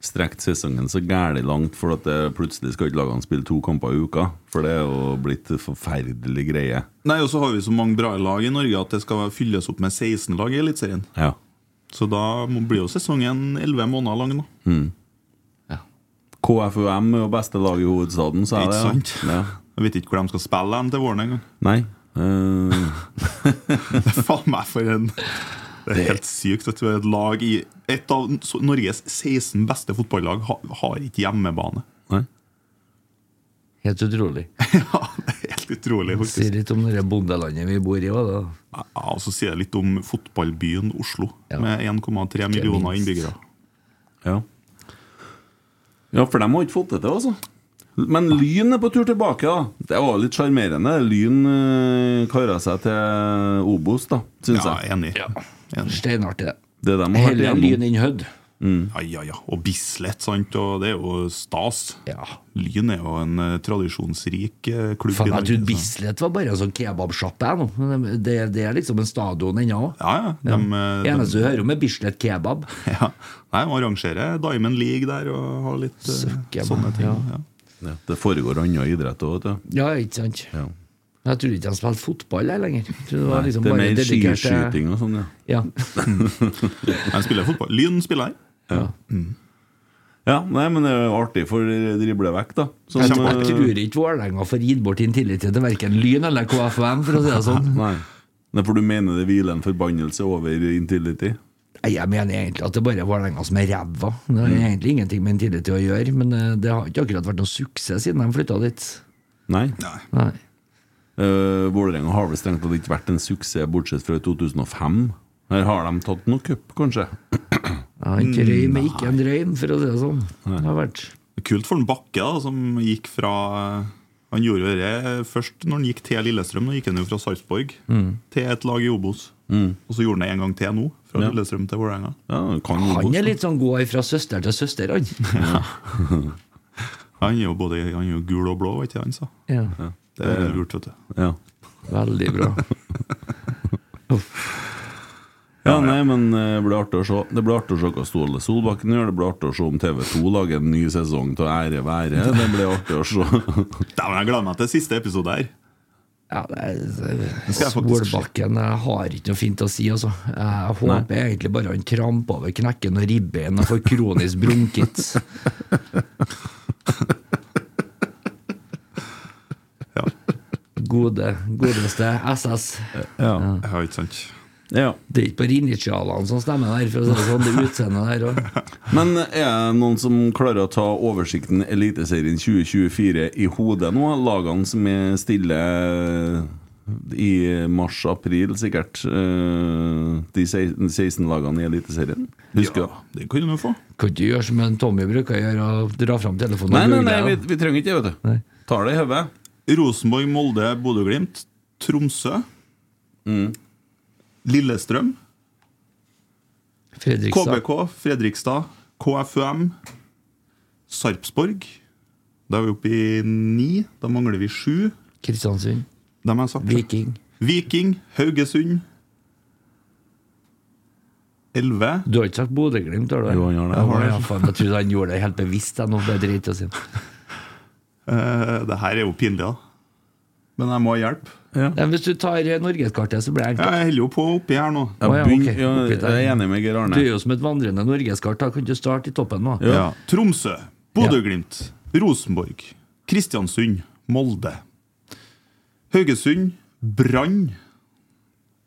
Speaker 2: Strekt sesongen så gærlig langt, for at det plutselig skal ikke lagene spille to kamper i uka. For det er jo blitt en forferdelig greie.
Speaker 3: Nei, og så har vi så mange bra lag i Norge at det skal fylles opp med 16 lag i Eliteserien.
Speaker 2: Ja.
Speaker 3: Så da må- blir jo sesongen 11 måneder lang, da.
Speaker 2: KFUM er jo beste lag i hovedstaden, sa jeg
Speaker 3: Ikke
Speaker 2: det.
Speaker 3: sant?
Speaker 2: Ja.
Speaker 3: Jeg vet ikke hvor de skal spille dem til våren engang.
Speaker 2: Nei. eh,
Speaker 3: Faen meg for en Det er helt sykt at vi er et lag i Et av så- Norges 16 beste fotballag ha- har ikke hjemmebane.
Speaker 2: nei.
Speaker 4: Helt utrolig.
Speaker 3: Ja, det er helt utrolig, faktisk.
Speaker 4: Sier litt om det bondelandet vi bor i òg, da.
Speaker 3: Ja, og så sier jeg litt om fotballbyen Oslo,
Speaker 4: Ja.
Speaker 3: med 1,3 millioner
Speaker 4: minst.
Speaker 3: innbyggere.
Speaker 2: Ja. ja, for de har ikke fått det til, altså. Men Lyn er på tur tilbake, da. Det var litt sjarmerende. Lyn eh, kara seg til Obos, da, syns
Speaker 3: Ja,
Speaker 2: jeg.
Speaker 3: enig. enig.
Speaker 4: Steinartig, det.
Speaker 2: Det de har vært
Speaker 4: Heller lyn
Speaker 2: igjennom.
Speaker 4: enn hødd.
Speaker 3: Ja, ja, ja. Og Bislett, sant. Og det er jo stas.
Speaker 4: Ja.
Speaker 3: Lyn er jo en eh, tradisjonsrik eh, klubb. i
Speaker 4: Faen, jeg
Speaker 3: Norge,
Speaker 4: trodde
Speaker 3: så-
Speaker 4: Bislett var bare en sånn kebabsjappe, jeg nå. Men Det, det er liksom en stadion ennå.
Speaker 3: Ja, ja. De, eh, de,
Speaker 4: Eneste du hører om, er Bislett kebab.
Speaker 3: ja. Nei, de arrangerer Diamond League der og har litt eh,
Speaker 4: Søkker,
Speaker 3: sånne
Speaker 4: man.
Speaker 3: ting.
Speaker 4: Ja.
Speaker 3: Ja.
Speaker 2: Ja, det foregår annen idrett òg, vet du.
Speaker 4: Ja, ikke sant.
Speaker 2: Ja.
Speaker 4: Jeg trodde ikke de spilte fotball jeg, lenger. Jeg trodde det var liksom
Speaker 2: det er
Speaker 4: bare
Speaker 2: mer
Speaker 4: dedikerte-
Speaker 2: skiskyting og sånn, ja.
Speaker 4: Ja.
Speaker 3: De spiller fotball. Lyn spiller her.
Speaker 4: ja.
Speaker 2: ja. Nei, men det er jo artig for driblevekk, da. Som,
Speaker 4: Jeg tror-
Speaker 2: eh,
Speaker 4: jeg tror ikke Vålerenga får gitt bort intillitet til verken Lyn eller KFUM, for å si det sånn.
Speaker 2: eh, Nei. Nei, for du mener det hviler en forbannelse over intility?
Speaker 4: Nei, Jeg mener egentlig at det bare er Vålerenga som er ræva. Det har egentlig ingenting med intillitet å gjøre, men eh, det har ikke akkurat vært noen suksess siden de flytta dit.
Speaker 2: Nei.
Speaker 4: Nei.
Speaker 2: Uh, Vålerenga har vel strengt tatt ikke vært en suksess, bortsett fra i 2005. Her har de tatt noe cup, kanskje?
Speaker 4: Ja, ikke røy, men ikke en drøyn, for å si det sånn. Det har vært
Speaker 3: Kult for en Bakke, da, som gikk fra eh, Han gjorde jo det først når han gikk til Lillestrøm. Nå gikk han jo fra Sarpsborg
Speaker 2: Mm.
Speaker 3: til et lag i Obos. Og så gjorde han det en gang til nå, fra Lillestrøm til Vålerenga.
Speaker 2: Ja, kan jo
Speaker 4: Han
Speaker 2: godt,
Speaker 4: er
Speaker 2: da.
Speaker 4: litt sånn gå fra søster til søster, han.
Speaker 3: Han er jo både han er jo gul og blå, vet ikke han sa.
Speaker 4: Ja.
Speaker 3: Det er lurt, vet du.
Speaker 2: Ja.
Speaker 4: Veldig bra.
Speaker 2: Ja, nei, men eh, det blir artig å se Det blir artig å se hva Ståle Solbakken gjør. Det blir artig å se om TV2 lager en ny sesong til ære være. Det blir artig å se.
Speaker 3: Dæven, jeg gleder meg til siste episode her.
Speaker 4: Ja, det er,
Speaker 3: skal jeg faktisk
Speaker 4: Solbakken jeg har ikke noe fint å si, altså. Jeg håper egentlig bare han tramper over knekken og ribbein og får kronisk bronkitt.
Speaker 3: Ja,
Speaker 4: Gode, godeste SS.
Speaker 2: Ja.
Speaker 3: ja ikke sant.
Speaker 2: ja.
Speaker 4: Det er ikke bare initialene som stemmer der, for å si det sånn. Det er utseendet der òg.
Speaker 2: Men er det noen som klarer å ta oversikten Eliteserien 2024 i hodet nå? Lagene som er stille eh, i mars-april, sikkert. eh, De 16 16 lagene i Eliteserien. Husker du?
Speaker 3: Ja, det kan du nå få.
Speaker 4: Kan ikke gjøre som en Tommy bruker å gjøre, og dra fram telefonen
Speaker 2: Nei, nei,
Speaker 4: og google.
Speaker 2: nei, vi,
Speaker 4: det, da.
Speaker 2: vi trenger ikke det, vet du. Tar det i hodet.
Speaker 3: Rosenborg, Molde, Bodø-Glimt, Tromsø.
Speaker 2: Mm.
Speaker 3: Lillestrøm.
Speaker 4: Fredrikstad.
Speaker 3: KBK, Fredrikstad, KFUM, Sarpsborg. Da er vi oppe i ni. Da mangler vi sju.
Speaker 4: Kristiansund.
Speaker 3: Dem har jeg sagt.
Speaker 4: Viking.
Speaker 3: Viking, Haugesund. Elleve.
Speaker 4: Du har ikke sagt Bodø-Glimt, har du?
Speaker 2: Jo, han har det.
Speaker 4: Ja, men ja, faen, jeg trodde han gjorde det helt bevisst. Jeg, nå, for det er dritt å si.
Speaker 3: Eh, det her er jo pinlig, da. Men jeg må ha hjelp.
Speaker 4: Nei, hvis du tar eh, norgeskartet, så blir det enkelt.
Speaker 3: Jeg holder jo på oppi her nå.
Speaker 2: Jeg,
Speaker 4: Å, ja,
Speaker 2: begyn-
Speaker 4: ok.
Speaker 2: ja,
Speaker 4: Oppi der.
Speaker 2: jeg er enig med Geir
Speaker 4: Du er
Speaker 2: Arne.
Speaker 4: jo som et vandrende norgeskart. da. Kan du starte i toppen nå?
Speaker 2: Ja.
Speaker 3: Tromsø, Bodø-Glimt, Rosenborg, Kristiansund, Molde. Haugesund, Brann,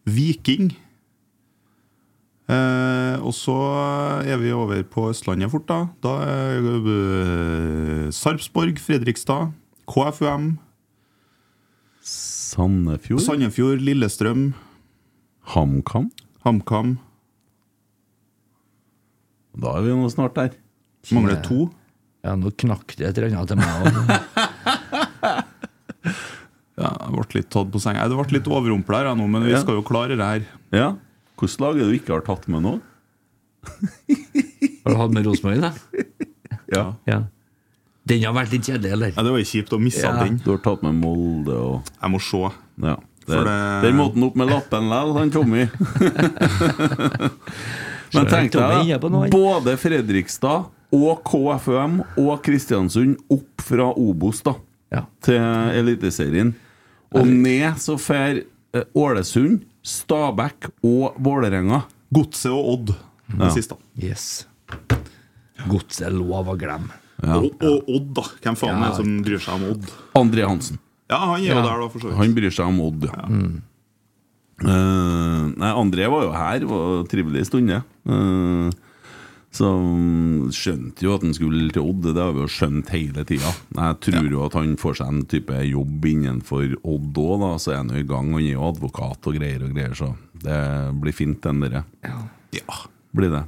Speaker 3: Viking. Eh, og så er vi over på Østlandet fort, da. Da er eh, Sarpsborg, Fredrikstad, KFUM,
Speaker 2: Sandefjord?
Speaker 3: Sandefjord, Lillestrøm,
Speaker 2: HamKam?
Speaker 3: HamKam.
Speaker 2: Da er vi nå snart der.
Speaker 3: Mangler to.
Speaker 4: Ja, nå knakk det et eller annet til meg. også.
Speaker 3: Ja, jeg ble litt tatt på senga. Jeg ble litt overrumpla her jeg, nå, men vi
Speaker 2: Ja.
Speaker 3: skal jo klare det her.
Speaker 2: Ja. Hvilket lag er det du ikke har tatt med nå?
Speaker 4: Har du hatt med Rosenborg, da?
Speaker 2: Ja.
Speaker 4: Ja. Den har vært litt kjedelig, eller?
Speaker 3: Ja, det var jo kjipt å miste
Speaker 4: Ja.
Speaker 3: den.
Speaker 2: Du har tatt med Molde og
Speaker 3: Jeg må se.
Speaker 2: Ja. Det,
Speaker 3: For det-
Speaker 2: Den måten opp med lappen lell, han Tommy. Men tenk
Speaker 4: Tommy er
Speaker 2: deg,
Speaker 4: på noe.
Speaker 2: både Fredrikstad og KFUM og Kristiansund opp fra Obos da
Speaker 4: Ja.
Speaker 2: til Eliteserien. Og ned så fer eh, Ålesund, Stabæk og Vålerenga.
Speaker 3: Godset og Odd. Den siste.
Speaker 4: Yes. Godset er lov å glemme.
Speaker 3: Og, og Odd, da. Hvem faen
Speaker 4: Ja.
Speaker 3: er det som bryr seg om Odd?
Speaker 2: André Hansen.
Speaker 3: Ja, han er jo
Speaker 4: Ja.
Speaker 3: der, da, for så vidt.
Speaker 2: Han bryr seg om Odd, ja. Eh, nei, André var jo her, var trivelig stund, det. Eh, så mm, skjønte jo at han skulle til Odd, det har vi jo skjønt hele tida. Jeg tror jo at han får seg en type jobb innenfor Odd òg, da, så er han jo i gang. Han er jo advokat og greier og greier, så det blir fint, den derre.
Speaker 3: Ja.
Speaker 2: Blir det.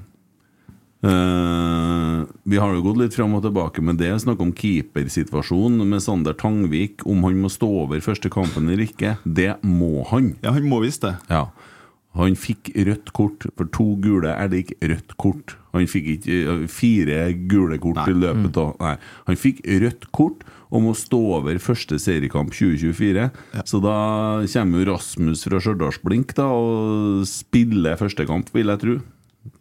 Speaker 2: Eh, vi har jo gått litt fram og tilbake med det. Snakk om keepersituasjonen med Sander Tangvik. Om han må stå over første kampen eller ikke. Det må han.
Speaker 3: ja, han må visst det.
Speaker 2: Ja. Han fikk rødt kort, for to gule er det ikke rødt kort. Han fikk ikke eh, fire gule kort i løpet av Nei. Mm. Han fikk rødt kort om å stå over første seriekamp 2024. Så da kommer jo Rasmus fra Stjørdals-Blink da, og spiller første kamp, vil jeg tro.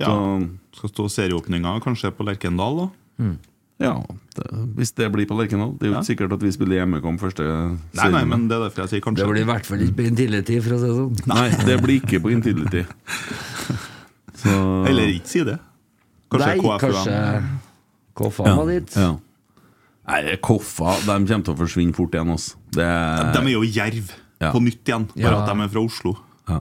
Speaker 3: Ja.
Speaker 2: Så-
Speaker 3: Skal stå serieåpninga kanskje på Lerkendal, da.
Speaker 2: Ja, det, hvis det blir på Lerkendal. Det er jo ikke sikkert at vi spiller hjemmekamp første
Speaker 3: Nei, nei,
Speaker 2: serien.
Speaker 3: men det er derfor jeg sier
Speaker 4: Det
Speaker 3: kanskje.
Speaker 4: blir i hvert fall ikke på intility, for å si det sånn.
Speaker 2: Nei, det blir ikke på Intility. Så
Speaker 3: Eller ikke si det. Kanskje
Speaker 4: Nei,
Speaker 3: KFUM.
Speaker 4: kanskje KFA var dit.
Speaker 2: ja. Nei, det er Koffa De kommer til å forsvinne fort igjen, altså. Det er,
Speaker 3: De er jo Jerv
Speaker 2: Ja.
Speaker 3: på nytt igjen, bare
Speaker 4: Ja.
Speaker 3: at de er fra Oslo.
Speaker 2: ja.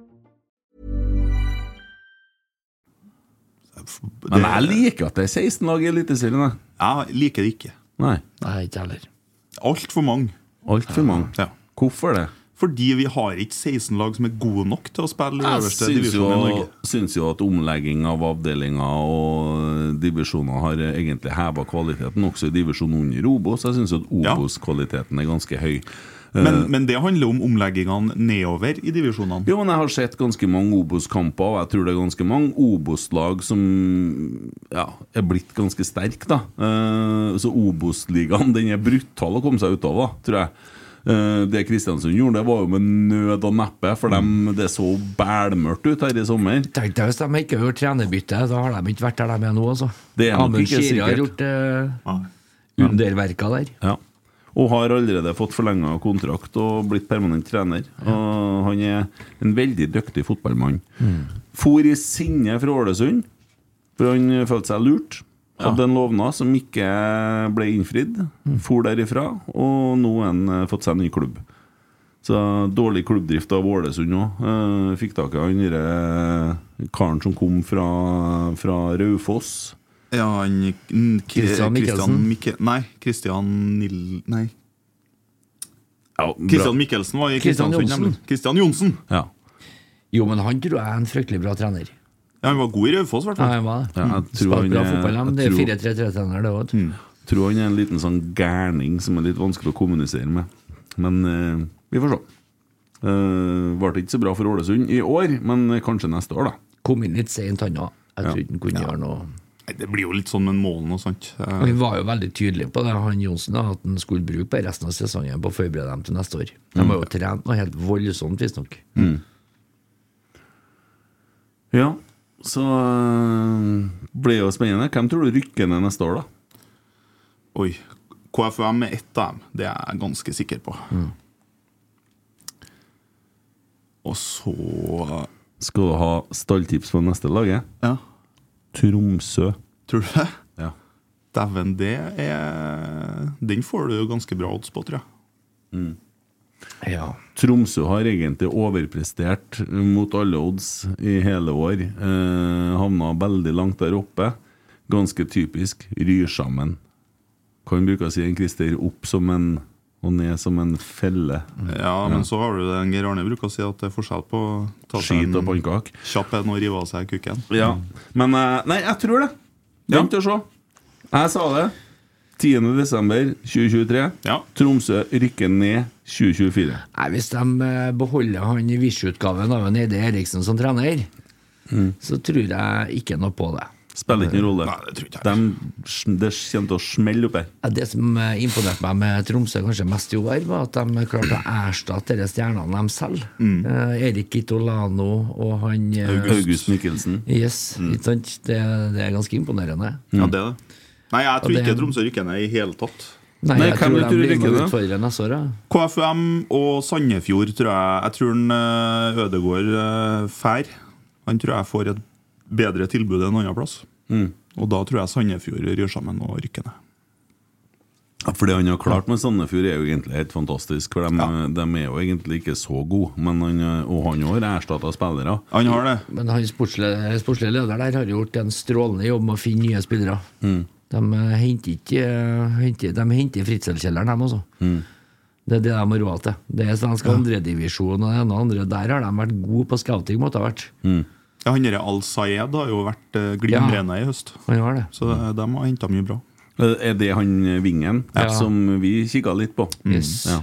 Speaker 2: Men jeg liker at det er 16 lag i Eliteserien. jeg.
Speaker 3: Jeg liker det ikke.
Speaker 2: Nei,
Speaker 4: Nei, ikke heller.
Speaker 3: Altfor mange.
Speaker 2: altfor mange.
Speaker 3: Ja.
Speaker 2: Hvorfor det?
Speaker 3: Fordi vi har ikke 16 lag som er gode nok til å spille i
Speaker 2: Jeg
Speaker 3: øverste
Speaker 2: syns
Speaker 3: divisjon i
Speaker 2: jo,
Speaker 3: Norge.
Speaker 2: syns jo at omlegging av avdelinger og divisjoner har egentlig heva kvaliteten, også i divisjonen under Obos. Jeg syns at
Speaker 3: Ja.
Speaker 2: Obos-kvaliteten er ganske høy.
Speaker 3: Men, men det handler om omleggingene nedover i divisjonene.
Speaker 2: Jo, men jeg har sett ganske mange Obos-kamper, og jeg tror det er ganske mange Obos-lag som ja, er blitt ganske sterke, da. Eh, så Obos-ligaen den er brutal å komme seg ut av, da, tror jeg. Eh, det Kristiansund gjorde, det var jo med nød og neppe, for dem, det så bælmørkt ut her i sommer.
Speaker 4: Tenk deg hvis de ikke har gjort trenerbytte, da har de ikke vært der de er nå, altså.
Speaker 2: Det er nok
Speaker 4: Amund
Speaker 2: ikke
Speaker 4: Skiri har
Speaker 2: sikkert.
Speaker 4: gjort eh,
Speaker 3: Nei.
Speaker 4: underverka der.
Speaker 2: Ja. Og har allerede fått forlenga kontrakt og blitt permanent trener. Og han er en veldig dyktig fotballmann. For i sinne fra Ålesund, for han følte seg lurt. Hadde en lovnad som ikke ble innfridd. For derifra, og nå har han eh, fått seg ny klubb. Så dårlig klubbdrift av Ålesund òg. Fikk tak i han derre karen som kom fra, fra Raufoss.
Speaker 3: Ja, han n- K-
Speaker 4: Christian Michelsen.
Speaker 3: Christian Mikke- nei, Christian Nil... Nei.
Speaker 2: Ja, bra.
Speaker 3: Christian Michelsen var i
Speaker 4: Christian
Speaker 3: Kristiansund,
Speaker 4: Johnsen.
Speaker 3: nemlig. Christian Johnsen!
Speaker 2: Ja.
Speaker 4: Jo, men han tror jeg er en fryktelig bra trener.
Speaker 3: Ja, han var god i Raufoss, i hvert
Speaker 4: Ja,
Speaker 3: fall.
Speaker 4: han var det.
Speaker 2: Ja, jeg tror
Speaker 4: Spilte
Speaker 2: han
Speaker 4: bra
Speaker 2: er-
Speaker 4: fotball, men det er
Speaker 2: jeg tror- Mm.
Speaker 4: 4-3-3-trener, det òg.
Speaker 2: Tror han er en liten sånn gærning som er litt vanskelig å kommunisere med. Men eh, vi får se. Uh, Varte ikke så bra for Ålesund i år, men kanskje neste år, da.
Speaker 4: Kom inn litt seint, han òg. Jeg trodde han kunne gjøre noe.
Speaker 3: Nei, Det blir jo litt sånn med målen og sånt. Eh,
Speaker 4: Han var jo veldig tydelig på det, han Johnsen, da, at han skulle bruke bare resten av sesongen på å forberede dem til neste år. De
Speaker 2: Mm.
Speaker 4: har jo trent noe helt voldsomt, visstnok.
Speaker 2: Ja, så eh, blir jo spennende. Hvem tror du rykker ned neste år, da?
Speaker 3: Oi. KFUM er ett av dem, det er jeg ganske sikker på.
Speaker 4: Mm.
Speaker 3: Og så
Speaker 2: Skal du ha stalltips på neste laget?
Speaker 3: Ja,
Speaker 2: Tromsø.
Speaker 3: tror du det?
Speaker 2: Ja.
Speaker 3: Dæven, det er Den får du jo ganske bra odds på, tror jeg.
Speaker 4: Ja.
Speaker 2: Tromsø har egentlig overprestert mot alle odds i hele år. Eh, havna veldig langt der oppe. Ganske typisk. Ryr sammen. Kan bruke å si en Christer opp som en og ned som en felle.
Speaker 3: Ja, men så har du det Geir Arne bruker å si, at det er forskjell på å ta seg
Speaker 2: Skit og
Speaker 3: en
Speaker 2: pannkake.
Speaker 3: kjapp en og rive av seg kukken.
Speaker 2: Ja. Men eh, nei, jeg tror det. Vent og se. Jeg sa det. 10.12.2023.
Speaker 3: Ja.
Speaker 2: Tromsø rykker ned 2024.
Speaker 4: Nei, Hvis de eh, beholder han i Wish-utgaven av en Eide Eriksen som trener,
Speaker 2: Mm.
Speaker 4: så tror jeg ikke noe på det.
Speaker 2: Spiller ikke noen rolle.
Speaker 3: Nei, det tror jeg ikke.
Speaker 2: De, det kommer til å smelle opp her.
Speaker 4: Ja, Det som eh, imponerte meg med Tromsø kanskje mest i år, var at de klarte å erstatte de stjernene de selv. Eh, Erik Gittolano og han eh,
Speaker 2: Mm. August Mm. Mikkelsen.
Speaker 4: Yes, ikke sant? Det, det er ganske imponerende.
Speaker 3: Ja, det er det. Mm. Nei, jeg tror
Speaker 4: det-
Speaker 3: ikke Tromsø rykker ned i hele tatt.
Speaker 4: Nei,
Speaker 2: Nei,
Speaker 4: jeg
Speaker 2: hvem du
Speaker 4: tror de
Speaker 2: tror
Speaker 4: blir
Speaker 2: rykker
Speaker 4: med
Speaker 2: da?
Speaker 4: utfordrere neste år. ja.
Speaker 3: KFUM og Sandefjord, tror jeg. Jeg tror en eh, Ødegård eh, fær. Han tror jeg får et bedre tilbud en annen plass. Og da tror jeg Sandefjord ryr sammen og rykker ned.
Speaker 2: Ja, For det han har klart med Sandefjord, er jo egentlig helt fantastisk. For de, de er jo egentlig ikke så gode, men han, og han har erstatta spillere.
Speaker 3: Han har det.
Speaker 4: Men han sportslige, sportslige leder der har gjort en strålende jobb med å finne nye spillere. De eh, henter ikke eh, henter, De henter i Fritzelkjelleren, dem også. Det er det de har råd til. Det er svensk andredivisjon og det ene og andre. Der har de vært gode på scouting, måtte ha vært.
Speaker 3: Ja, han derre Al Sayed har jo vært eh, glimrende i høst.
Speaker 4: Han har det.
Speaker 3: Så de har henta mye bra.
Speaker 2: Er det han eh, Vingen
Speaker 4: Ja. Mm.
Speaker 2: som vi kikka litt på?
Speaker 4: Yes.
Speaker 2: Ja.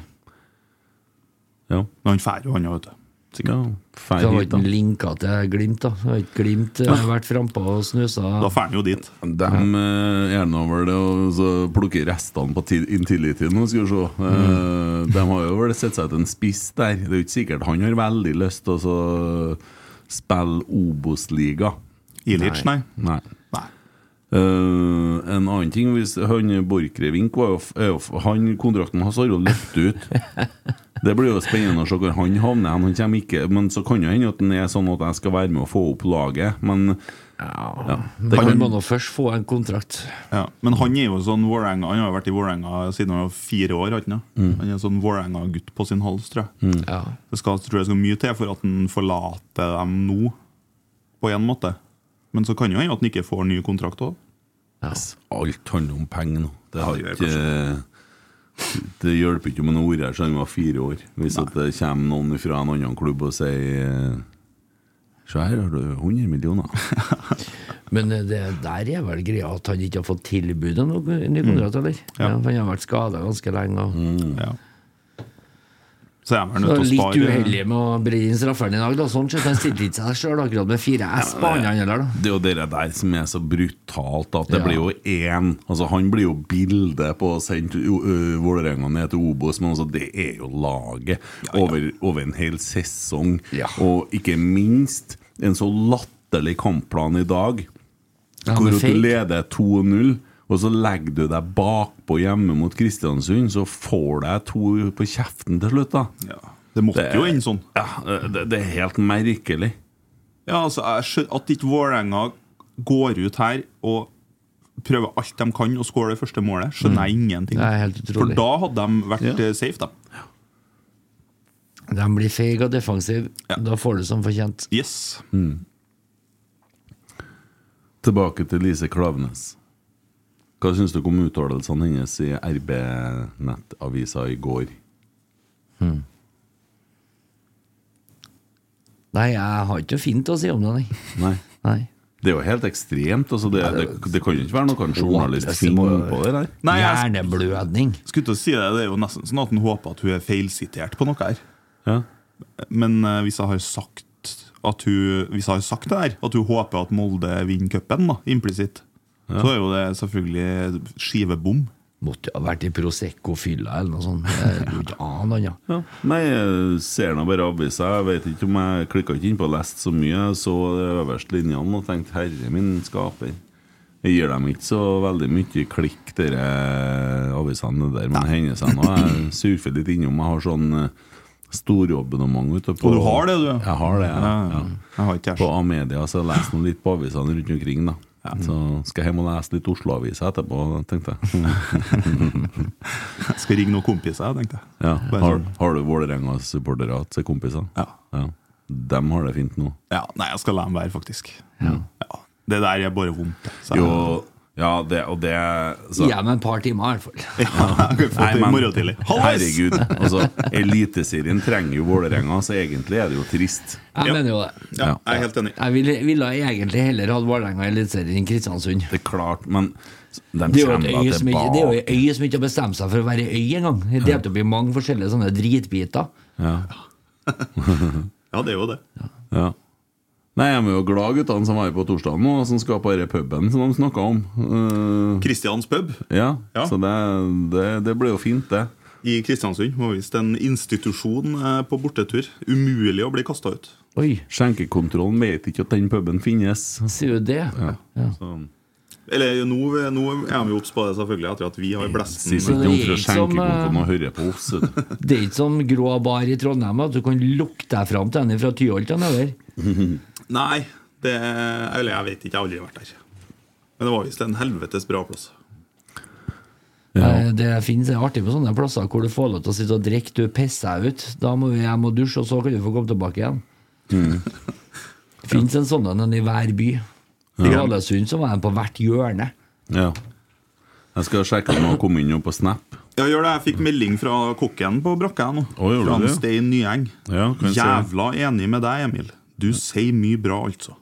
Speaker 2: Ja.
Speaker 3: Men han drar jo, han òg, vet du.
Speaker 2: ja.
Speaker 4: Mm. Så
Speaker 2: Fær
Speaker 4: har
Speaker 2: hit,
Speaker 4: ikke
Speaker 2: da.
Speaker 4: linka til Glimt, da. Så Har ikke Glimt eh, vært frampå og
Speaker 3: Da
Speaker 4: snusa?
Speaker 3: drar han jo dit.
Speaker 2: De eh, er nå over det og så plukker restene på til- Intility nå, skal vi se. Eh,
Speaker 4: Mm.
Speaker 2: De har jo vel sett seg til en spiss der. Det er jo ikke sikkert han har veldig lyst til å så spille Obos-liga.
Speaker 3: Ilic, nei.
Speaker 2: Nei.
Speaker 3: Nei.
Speaker 2: Eh, en annen ting hvis han Borchgrevink var jo, f- er jo f- Han Kontrakten hans har jo løpt ut. Det blir jo spennende å se hvor han havner. Han kommer ikke, men så kan jo hende at han er sånn at jeg skal være med å få opp laget. Men ja, det
Speaker 4: Han
Speaker 2: kan,
Speaker 4: må nå først få en kontrakt.
Speaker 3: Ja. Men han er jo sånn Vålerenga Han har jo vært i Vålerenga siden han var fire år. har han ikke
Speaker 2: Mm.
Speaker 3: det? Han er sånn Vålerenga-gutt på sin hals, tror jeg.
Speaker 4: Ja.
Speaker 3: Det skal, tror jeg skal mye til for at han forlater dem nå, på en måte. Men så kan jo hende at han ikke får ny kontrakt òg.
Speaker 2: alt handler om penger nå. Det, har
Speaker 3: det gjør
Speaker 2: ikke, det hjelper ikke om han har vært her siden han var fire år. Hvis at det kommer noen fra en annen klubb og sier eh, Se her har du 100 millioner.
Speaker 4: Men eh, det der er vel greia at han ikke har fått tilbud om noe ny kontrakt, eller? Mm. Ja. Mm. for han har vært skada ganske lenge. Og...
Speaker 2: Mm.
Speaker 3: Ja. Så jeg er vel
Speaker 4: Så
Speaker 3: nødt til å
Speaker 4: litt
Speaker 3: spare
Speaker 4: uheldig med å bre inn strafferen i dag, da. Sånn sett, han stilte ikke seg sjøl akkurat med fire S på andre hånden der, da.
Speaker 2: Det er jo det der som er så brutalt, at det
Speaker 4: Ja.
Speaker 2: blir jo én Altså, han blir jo bildet på å sende ø, ø, Vålerenga ned til Obos, men altså, det er jo laget Over, over en hel sesong.
Speaker 4: Ja.
Speaker 2: Og ikke minst en så latterlig kampplan i dag,
Speaker 4: Ja,
Speaker 2: hvor
Speaker 4: men
Speaker 2: at du
Speaker 4: fake.
Speaker 2: leder 2-0. Og så legger du deg bakpå hjemme mot Kristiansund, så får du to på kjeften til slutt, da.
Speaker 3: Ja. Det måtte
Speaker 2: Det-
Speaker 3: jo ende sånn.
Speaker 2: Ja, det, det er helt merkelig.
Speaker 3: Ja, altså, jeg skjønner At ikke Vålerenga går ut her og prøver alt de kan og skårer det første målet, skjønner jeg ingenting.
Speaker 4: Det er helt
Speaker 3: For
Speaker 4: utrolig.
Speaker 3: da hadde de vært
Speaker 2: Mm. Ja.
Speaker 3: eh, safe, da.
Speaker 4: De blir feige og defensive. Da får du som fortjent.
Speaker 3: Yes.
Speaker 2: Tilbake til Lise Klaveness. Hva syns du om uttalelsene hennes i RB-nettavisa i går?
Speaker 4: Nei, jeg har ikke noe fint å si om det, nei.
Speaker 2: Nei.
Speaker 4: nei.
Speaker 2: Det er jo helt ekstremt. Altså det, det, det kan jo ikke være noe en journalist finner på det der.
Speaker 3: Nei, jeg
Speaker 4: Hjerneblødning.
Speaker 3: skulle til å si det. Det er jo nesten sånn at han håper at hun er feilsitert på noe her.
Speaker 2: Ja.
Speaker 3: Men eh, hvis jeg har sagt at hun Hvis jeg har sagt det der, at hun håper at Molde vinner cupen, da, implisitt, så er jo det selvfølgelig skivebom.
Speaker 4: Måtte jo ha vært i Prosecco-fylla eller noe sånt. Jeg kan ikke ane annet.
Speaker 2: Ja. Nei, jeg ser nå bare avisa. Jeg vet ikke om jeg klikka ikke inn på og leste så mye. Jeg så de øverste linjene og tenkte 'herre min skaper'. Jeg gir dem ikke så veldig mye klikk, dere avisene der. Men hennes ennå. Jeg surfer litt innom. Jeg har sånn eh, storabonnement ute på
Speaker 3: Og du har det, du?
Speaker 2: Jeg har det, ja. ja.
Speaker 3: Jeg har ikke
Speaker 2: På
Speaker 3: kjæreste.
Speaker 2: Amedia så jeg leser nå litt på avisene rundt omkring, da. Så skal jeg hjem og lese litt Oslo-aviser etterpå, tenkte jeg.
Speaker 3: Jeg skal ringe noen kompiser, tenkte jeg.
Speaker 2: Ja.
Speaker 3: Bare
Speaker 2: Har,
Speaker 3: sånn.
Speaker 2: har du Vålerenga-supportere til kompiser?
Speaker 3: Ja.
Speaker 2: Ja. Dem har det fint nå.
Speaker 3: Ja, nei, jeg skal la dem være, faktisk. Ja. Det der er bare vondt. Så jeg-
Speaker 2: Jo, ja, det, og det
Speaker 3: Altså-
Speaker 2: så.
Speaker 4: Hjem en par timer, i hvert fall.
Speaker 3: jeg kan få
Speaker 2: Nei,
Speaker 3: til i
Speaker 2: men-
Speaker 3: morgen tidlig. Hallais!
Speaker 2: Herregud. Altså, Eliteserien trenger jo Vålerenga, så egentlig er det jo trist.
Speaker 4: Jeg
Speaker 3: Ja.
Speaker 4: mener jo det.
Speaker 3: Ja, jeg er helt enig.
Speaker 4: Jeg ville, ville egentlig heller hatt Vålerenga i Eliteserien enn Kristiansund.
Speaker 2: Det er klart, men de
Speaker 4: Det er jo
Speaker 2: kommer
Speaker 4: et
Speaker 2: da
Speaker 4: øye som ikke, det er jo
Speaker 2: tilbake.
Speaker 4: et øye som ikke har bestemt seg for å være øy engang. Det er delt opp i mange forskjellige sånne dritbiter.
Speaker 3: Ja, det er jo det.
Speaker 2: Ja. Nei, jeg er jo glad guttene som var her på torsdag nå, som skal på denne puben som de snakka om. Eh,
Speaker 3: Kristians pub
Speaker 2: Ja,
Speaker 3: Ja.
Speaker 2: så det, det, det ble jo fint, det.
Speaker 3: i Kristiansund var visst en institusjon eh, på bortetur. Umulig å bli kasta ut.
Speaker 4: Oi,
Speaker 2: Skjenkekontrollen vet ikke at den puben finnes.
Speaker 4: sier du det?
Speaker 2: Så,
Speaker 3: Eller nå, nå er vi obs på det, selvfølgelig, etter at vi har blest
Speaker 2: Sier
Speaker 3: den.
Speaker 2: ikke noen fra
Speaker 4: ikke som,
Speaker 2: skjenkekontrollen og hører på oss. vet du.
Speaker 4: Det er ikke som grå bar i Trondheim, at du kan lukte deg fram til en fra Tyholt og nedover.
Speaker 3: Nei, det, eller jeg vet ikke, jeg har aldri vært der. Men det var visst en helvetes bra plass.
Speaker 2: Ja.
Speaker 4: Eh, Det finnes det er artig på sånne plasser hvor du får lov til å sitte og drikke. Du pisser deg ut. Da må vi hjem og dusje, og så kan du få komme tilbake igjen.
Speaker 2: Mm.
Speaker 4: Det finnes en sånn en i hver by. I Rallesund så var den på hvert hjørne.
Speaker 2: Ja. Jeg skal sjekke om han kom inn nå på Snap.
Speaker 3: Ja, gjør det, Jeg fikk melding fra kokken på brakka. jeg nå
Speaker 2: Å, gjorde du
Speaker 3: Fra
Speaker 2: det?
Speaker 3: en Stein Nyeng.
Speaker 2: Ja, kan jeg se.
Speaker 3: Jævla enig med deg, Emil. Du sier mye bra, altså.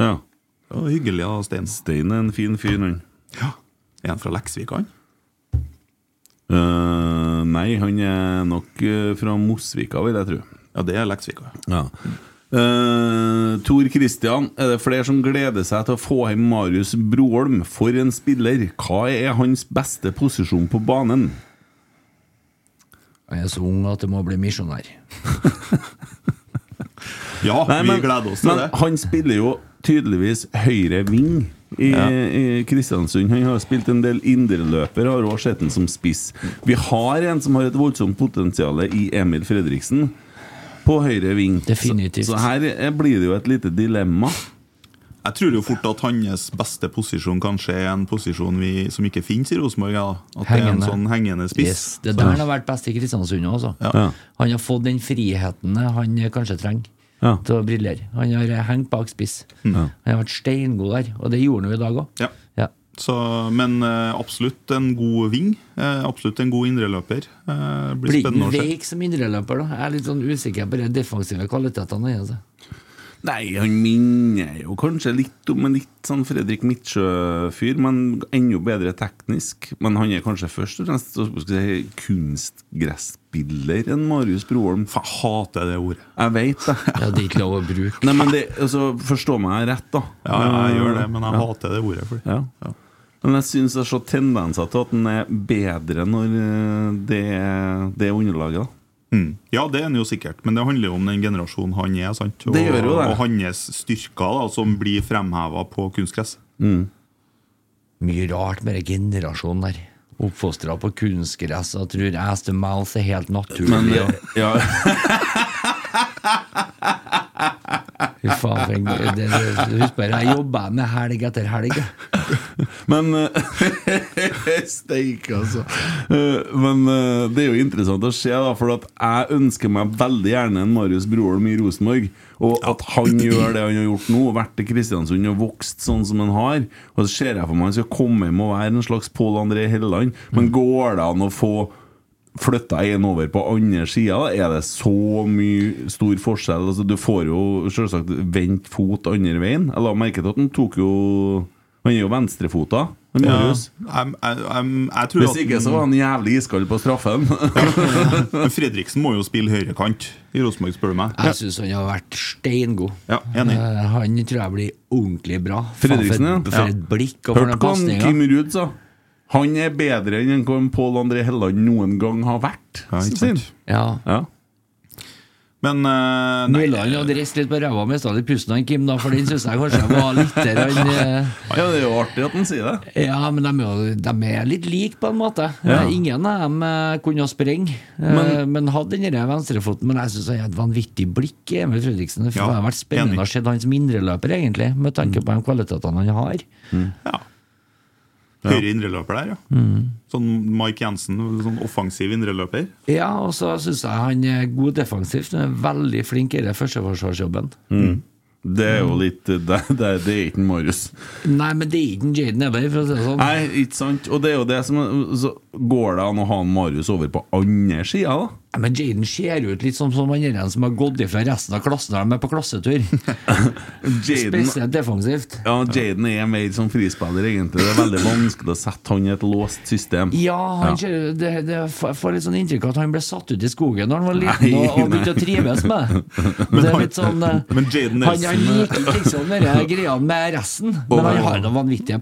Speaker 2: Ja.
Speaker 3: Ja, hyggelig av Stein.
Speaker 2: Stein er en fin fyr, han.
Speaker 3: Ja. Er han fra Leksvik, han?
Speaker 2: Eh, nei, han er nok eh, fra Mosvika, vil jeg tro.
Speaker 3: Ja, det er Leksvika.
Speaker 2: Ja. Eh, Tor Christian, er det flere som gleder seg til å få hjem Marius Broholm? For en spiller! Hva er hans beste posisjon på banen?
Speaker 4: Jeg er så ung at jeg må bli misjonær.
Speaker 3: Ja,
Speaker 2: Nei,
Speaker 3: vi gleder oss til
Speaker 2: men
Speaker 3: det.
Speaker 2: han spiller jo tydeligvis høyre ving i, i Kristiansund. Han har spilt en del indreløper, har også sett den som spiss. Vi har en som har et voldsomt potensial i Emil Fredriksen på høyre ving.
Speaker 4: Definitivt.
Speaker 2: Så, så her eh, blir det jo et lite dilemma.
Speaker 3: Jeg tror jo fort at hans beste posisjon kanskje er en posisjon vi, som ikke finnes i Rosenborg. Ja. At det er en
Speaker 4: Hengende.
Speaker 3: sånn hengende
Speaker 4: Yes.
Speaker 3: spiss.
Speaker 4: Det er der han har vært best i Kristiansund òg, altså.
Speaker 2: Ja.
Speaker 4: Han har fått den friheten han kanskje trenger
Speaker 2: Ja.
Speaker 4: til å briljere. Han har eh, hengt bak spiss. Han har vært steingod der, og det gjorde han jo i dag òg.
Speaker 3: Mm. Ja. Så, men eh, absolutt en god ving. Eh, absolutt en god indreløper. Eh, blir
Speaker 4: Blir han
Speaker 3: spennende å se.
Speaker 4: veik som indreløper, da? Jeg er litt sånn usikker på de defensive kvalitetene altså. hans.
Speaker 2: Nei, han minner jo kanskje litt om en litt sånn Fredrik Midtsjø-fyr, men enda bedre teknisk. Men han er kanskje først og fremst så skal jeg si, kunstgresspiller enn Marius Broholm. Faen,
Speaker 3: Jeg hater det ordet.
Speaker 2: Jeg veit det.
Speaker 4: Ja, det er ikke lov å bruke.
Speaker 2: Nei, men det, altså, Forstå meg rett, da.
Speaker 3: Ja, jeg gjør det, men jeg hater det ordet. Fordi.
Speaker 2: Ja. Men jeg syns jeg ser tendenser til at den er bedre når eh, det er, det er underlaget. da
Speaker 3: Mm. Ja, det er han jo sikkert, men det handler jo om den generasjonen han er. sant? Og,
Speaker 2: Det gjør jo det.
Speaker 3: og hans styrker da, som blir fremheva på kunstgress.
Speaker 4: Mye rart med den generasjonen der. Oppfostra på kunstgress og tror Aston Miles er helt naturlig.
Speaker 2: Men det,
Speaker 4: og-
Speaker 2: ja,
Speaker 3: eh,
Speaker 4: Fy faen, for en det, det, Husk bare, jeg jobba med helg etter helg.
Speaker 2: Men eh, Steik, altså. Eh, Men eh, det er jo interessant å se, da, for at jeg ønsker meg veldig gjerne en Marius Broholm i Rosenborg. Og at han gjør det han har gjort nå, vært til Kristiansund og vokst sånn som han har. Og så ser jeg for meg han skal komme hjem og være en slags Pål André Helleland. Men går det an å få flytta en over på andre sida? Er det så mye stor forskjell? Altså, du får jo selvsagt vendt fot andre veien. Jeg la merke til at han tok jo Han er jo venstrefota. han Marius.
Speaker 3: Jeg, jeg, jeg, jeg tror
Speaker 2: Hvis ikke så var han jævlig iskald på straffen.
Speaker 3: Men Fredriksen må jo spille høyrekant i Rosenborg, spør du meg.
Speaker 4: Jeg syns han har vært steingod.
Speaker 3: Ja, enig.
Speaker 4: Eh, Han tror jeg blir ordentlig bra. Faen,
Speaker 2: Fredriksen, ja.
Speaker 4: for, et- for et blikk og for
Speaker 2: Hørte
Speaker 4: noen
Speaker 2: hva han
Speaker 4: pasninger.
Speaker 2: Kim Ruud sa? Han er bedre enn hva Pål André Helland noen gang har vært.
Speaker 3: Ja, ikke
Speaker 2: sier han.
Speaker 3: sant?
Speaker 4: Ja.
Speaker 2: Ja.
Speaker 3: Men eh, nei,
Speaker 4: Mølland hadde reist litt på ræva med stadig pusten han Kim, da, for den syns jeg kanskje var litt grann, eh,
Speaker 2: ja, det er jo artig at han sier det.
Speaker 4: Ja, men de, er jo- de er litt like, på en måte.
Speaker 2: Ja.
Speaker 4: Eh, Ingen av dem eh, kunne å sprenge, men, men hadde den der venstrefoten. Men jeg syns han har et vanvittig blikk, Emil Fredriksen. Det
Speaker 3: Ja,
Speaker 4: har vært spennende
Speaker 3: enig.
Speaker 4: å se han som indreløper, egentlig, med
Speaker 2: Mm.
Speaker 4: tanke på de kvalitetene han har.
Speaker 3: ja. Høyre indreløper der, ja. Sånn Mike Jensen, sånn offensiv indreløper.
Speaker 4: Ja, og så syns jeg han er god defensivt. Han er veldig flink i den førsteforsvarsjobben.
Speaker 2: Det er jo litt Det, det, det er ikke Marius.
Speaker 4: Nei, men det er ikke en Jaden Eber, for å si det sånn.
Speaker 2: Nei, ikke sant. Og det er jo det som så Går det an å ha en Marius over på andre sida, da?
Speaker 4: Nei, Men Jaden ser ut litt som, som han er en som har gått ifra resten av klassen når de er på klassetur.
Speaker 2: Jaden
Speaker 4: Spesielt defensivt.
Speaker 2: ja, Jaden er mer som frispiller, egentlig. Det er veldig vanskelig å sette han i et låst system.
Speaker 4: Ja, han
Speaker 2: Ja.
Speaker 4: Ser, det, det jeg får litt sånn inntrykk av at han ble satt ut i skogen da han var liten
Speaker 2: Nei,
Speaker 4: og, og
Speaker 2: nei.
Speaker 4: begynte å trives med det. det. er
Speaker 3: han-
Speaker 4: litt sånn eh,
Speaker 3: men Jaden
Speaker 4: Han han
Speaker 3: Nelson-
Speaker 4: liker ikke liksom de greiene med resten, men han har noen vanvittige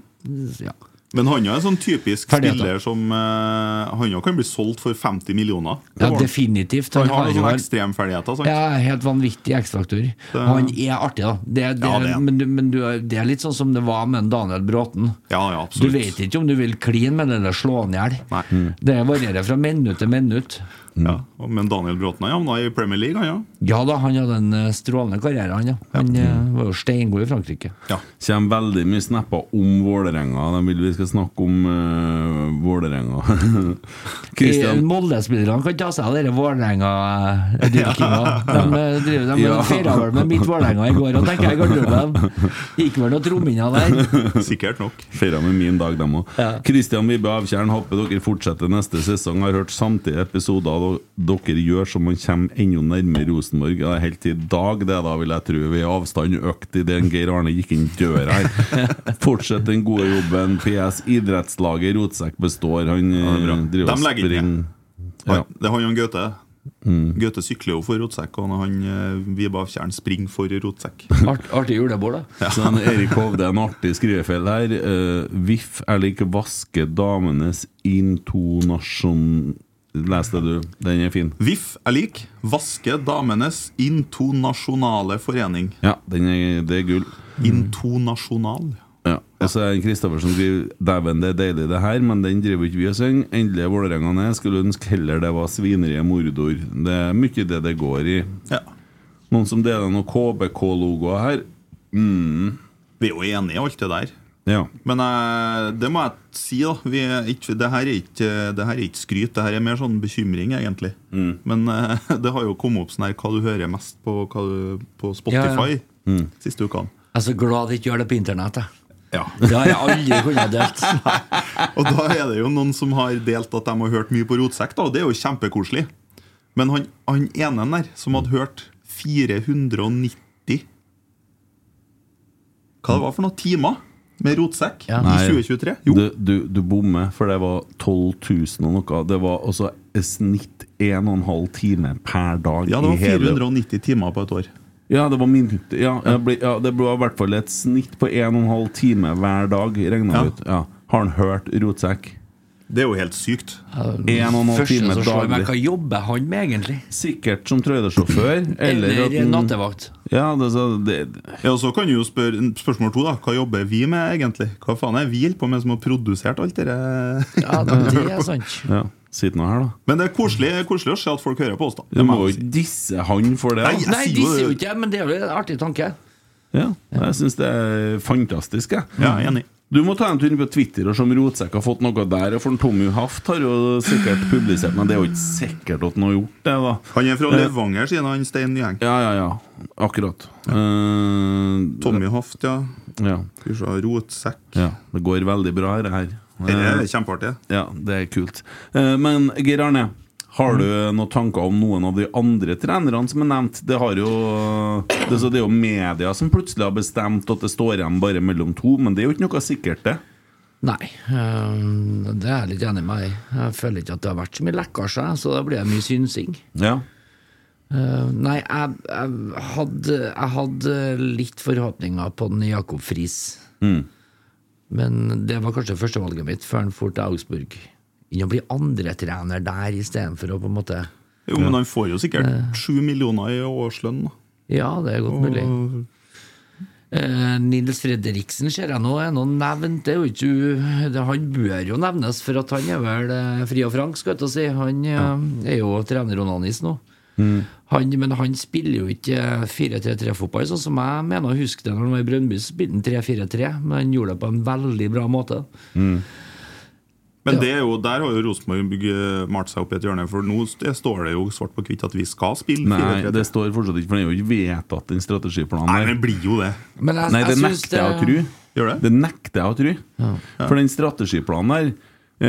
Speaker 4: ja.
Speaker 3: Men han er en sånn typisk
Speaker 4: Ferdigheter.
Speaker 3: spiller som eh, Han jo kan bli solgt for 50 millioner. Det
Speaker 4: ja,
Speaker 3: var han.
Speaker 4: definitivt.
Speaker 3: han har liksom
Speaker 4: jo
Speaker 3: sånne
Speaker 4: en-
Speaker 3: ekstremferdigheter. sant?
Speaker 4: ja, helt vanvittig X-faktor. Han er artig, da. Det, det,
Speaker 3: Ja, det er han.
Speaker 4: Men, du, men du, er- det er litt sånn som det var med en Daniel Bråten.
Speaker 3: Ja, ja,
Speaker 4: Du
Speaker 3: absolutt.
Speaker 4: vet ikke om du vil kline med den eller slå han i hjel.
Speaker 3: Nei.
Speaker 4: Det varierer fra minutt til minutt.
Speaker 3: Ja. og- Men Daniel Bråten han havna i Premier League, han,
Speaker 4: Ja da, han hadde en eh, strålende karriere, han ja. Han eh, var jo steingod i Frankrike.
Speaker 3: ja. ja.
Speaker 2: kommer veldig mye snapper om Vålerenga. De vil vi skal snakke om eh, Vålerenga.
Speaker 4: I-
Speaker 2: Kristian
Speaker 4: Eh, Molde-spillerne kan ta seg av denne Vålerenga-dyrkinga. De eh, driver de
Speaker 2: Ja.
Speaker 4: feira vel med mitt Vålerenga i går, og tenker jeg i garderoben. Gikk vel noen tromminner der.
Speaker 3: Sikkert nok.
Speaker 2: feira med min dag, dem òg. Kristian Vibbe Avtjern håper dere fortsetter neste sesong. Har hørt samtlige episoder av og dere gjør så man kommer enda nærmere Rosenborg. Det er helt i dag, det da, vil jeg tro. Vi har avstanden økt idet Geir Arne gikk inn døra her. Fortsett den gode jobben. PS. Idrettslaget Rotsekk består. Han eh, driver og
Speaker 3: De legger ikke.
Speaker 2: springer. Ja.
Speaker 3: Det er han og Gaute. Gaute sykler jo for rotsekk, og han eh, Vibav Tjern springer for rotsekk.
Speaker 4: Art, artig julebord, da.
Speaker 2: Så en Erik Hovde, en artig skrivefeil her. Eh, VIF er lik vaske damenes intonasjon... Les det, du. Den er fin.
Speaker 3: VIF er lik Vaske damenes intonasjonale forening.
Speaker 2: Ja, den er, det er gull.
Speaker 3: Intonasjonal?
Speaker 2: Ja. Og så er det en Kristoffersen som skriver Dæven, det er deilig det her, men den driver ikke vi og synger. Endelig er Vålerenga ned. Skulle ønske heller det var svineriet Mordor. Det er mye det det går i.
Speaker 3: Ja.
Speaker 2: Noen som deler noen KBK-logoer her.
Speaker 3: Vi er jo enige i alt det der.
Speaker 2: Ja.
Speaker 3: Men eh, det må jeg si, da. Vi er ikke, det, her er ikke, det her er ikke skryt, det her er mer sånn bekymring, egentlig. Men eh, det har jo kommet opp sånn her hva du hører mest på, hva du, på
Speaker 4: Ja,
Speaker 3: Spotify siste ukene.
Speaker 4: Jeg er så glad de ikke gjør det på internett. jeg.
Speaker 3: Ja.
Speaker 4: Det har jeg aldri kunnet delt.
Speaker 3: Og da er det jo noen som har delt at de har hørt mye på Rotsekk, da, og det er jo kjempekoselig. Men han, han ene der, som hadde hørt 490 Hva det var for noen timer med Rotsekk
Speaker 4: Ja.
Speaker 3: i 2023? Jo,
Speaker 2: Du, du, du bommer, for det var 12 000 og noe. Det var altså i snitt 1,5 time per dag.
Speaker 3: ja, det
Speaker 2: i
Speaker 3: var
Speaker 2: hele-
Speaker 3: 490 timer på et år.
Speaker 2: Ja, det var min ja, jeg ble, ja, Det ble i hvert fall et snitt på 1,5 time hver dag, regna
Speaker 3: Ja.
Speaker 2: ut. Ja. Har han hørt Rotsekk?
Speaker 3: Det er jo helt sykt.
Speaker 2: En og en halv
Speaker 4: Første
Speaker 2: time
Speaker 4: som slår meg,
Speaker 2: daglig.
Speaker 4: hva jobber han med, egentlig?
Speaker 2: Sikkert som trøydersjåfør. Eller,
Speaker 4: Eller
Speaker 2: at den-
Speaker 4: nattevakt?
Speaker 2: Ja, det, så det,
Speaker 3: Ja, og så kan du jo spørre Spørsmål to, da. Hva jobber vi med, egentlig? Hva faen er vi holder på med som har produsert alt det
Speaker 4: Ja, det er sant.
Speaker 2: ja. Sitt nå her, da.
Speaker 3: Men det er koselig, koselig å se at folk hører på oss, da.
Speaker 2: Du
Speaker 3: må
Speaker 2: må jo
Speaker 3: jeg si.
Speaker 2: ikke disse han for det. da.
Speaker 3: Nei,
Speaker 4: Nei,
Speaker 3: sier
Speaker 4: de
Speaker 3: jo
Speaker 4: sier jo
Speaker 3: det.
Speaker 4: ikke men det er jo en artig tanke.
Speaker 2: Ja, jeg syns det er fantastisk, jeg.
Speaker 3: Ja, jeg er enig.
Speaker 2: Du må ta en tur inn på Twitter og se om Rotsekk har fått noe der. For Tommy Haft har jo sikkert publisert, men det er jo ikke sikkert at han har gjort det, da.
Speaker 3: Han er fra Levanger, sier han Stein Nyeng.
Speaker 2: Ja, ja, ja. Akkurat. Eh,
Speaker 3: Tommy Haft, ja.
Speaker 2: ja.
Speaker 3: Skal vi se, Rotsekk.
Speaker 2: ja. Det går veldig bra, det her.
Speaker 3: Dette
Speaker 2: Eh,
Speaker 3: er kjempeartig.
Speaker 2: Ja, det er kult. Eh, Men Geir Arne, har du
Speaker 4: Mhm.
Speaker 2: noen tanker om noen av de andre trenerne som er nevnt? Det, har jo, det, er så det er jo media som plutselig har bestemt at det står igjen bare mellom to, men det er jo ikke noe sikkert, det.
Speaker 4: Nei, eh, det er jeg litt enig med deg i. Jeg føler ikke at det har vært så mye lekkasje, så da blir det mye synsing.
Speaker 2: Ja.
Speaker 4: Eh, Nei, jeg, jeg, hadde, jeg hadde litt forhåpninger på den Jakob Friis. Mm. Men det var kanskje førstevalget mitt før han for til Augsburg. Inn og bli andretrener der istedenfor å på en måte
Speaker 3: Jo, men han får jo sikkert sju millioner i årslønn. da.
Speaker 4: Ja, det er godt mulig. Eh, Nils Fredriksen ser jeg nå er noe nevnt. Det er jo ikke, u- det, han bør jo nevnes, for at han er vel eh, fri og frank, skal jeg til å si. Han eh, er jo treneronanist nå.
Speaker 2: Mm.
Speaker 4: Han, men han spiller jo ikke eh, 4-3-3-fotball, sånn som jeg mener å huske det når han var i Brønnby. så Spilte han 3-4-3, men han gjorde det på en veldig bra måte.
Speaker 3: Men det er jo, der har jo Rosenborg eh, malt seg opp i et hjørne, for nå st- står det jo svart på hvitt at vi skal spille
Speaker 2: Nei,
Speaker 3: 4-3-3.
Speaker 2: det står fortsatt ikke, for det er jo ikke vedtatt, den strategiplanen
Speaker 3: Nei,
Speaker 2: der.
Speaker 3: det blir jo det.
Speaker 4: Men jeg,
Speaker 2: Nei, det
Speaker 4: jeg synes
Speaker 2: nekter jeg å tro.
Speaker 3: Gjør det?
Speaker 2: Det nekter jeg å tro. For den strategiplanen der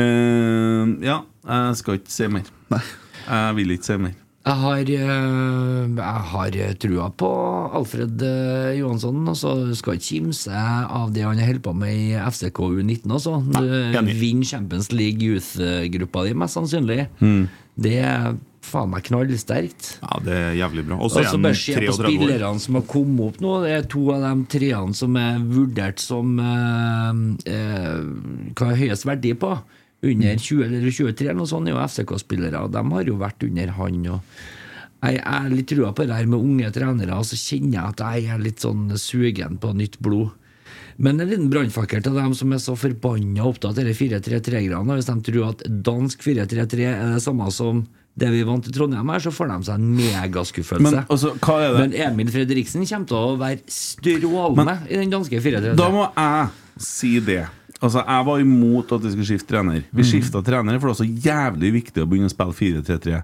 Speaker 2: eh, Ja, jeg skal ikke si mer. Jeg vil ikke si mer.
Speaker 4: Jeg har, eh, jeg har trua på Alfred eh, Johansson. Altså, skal ikke kimse av det han holder på med i FCK U19. Altså. Du
Speaker 3: enig.
Speaker 4: vinner Champions League Youth-gruppa di, mest sannsynlig.
Speaker 3: Hmm.
Speaker 4: Det er faen meg knallsterkt.
Speaker 3: Ja, det er jævlig bra. Og så
Speaker 4: Og
Speaker 3: er
Speaker 4: så
Speaker 3: han
Speaker 4: bare se
Speaker 3: 33
Speaker 4: på
Speaker 3: år.
Speaker 4: spillerne som har kommet opp nå. Det er to av de treene som er vurdert som eh, eh, Hva er høyest verdi på? Under
Speaker 2: Mm.
Speaker 4: 20 eller 23 eller noe sånt er jo FCK-spillere, og de har jo vært under han. og jeg jeg er litt trua på det her med unge trenere, og så kjenner jeg at jeg er litt sånn sugen på nytt blod. Men en liten brannfakkel til dem som er så forbanna opptatt av disse 4-3-3-greiene. Hvis de tror at dansk 4-3-3 er det samme som det vi vant i Trondheim her, så får de seg en megaskuffelse.
Speaker 2: Men altså, hva er det?
Speaker 4: Men Emil Fredriksen kommer til å være strålende i den danske 4-3-3.
Speaker 2: Da må jeg si det. Altså, Jeg var imot at vi skulle skifte trener. Vi skifta trener, for det er så jævlig viktig å begynne å spille 4-3-3.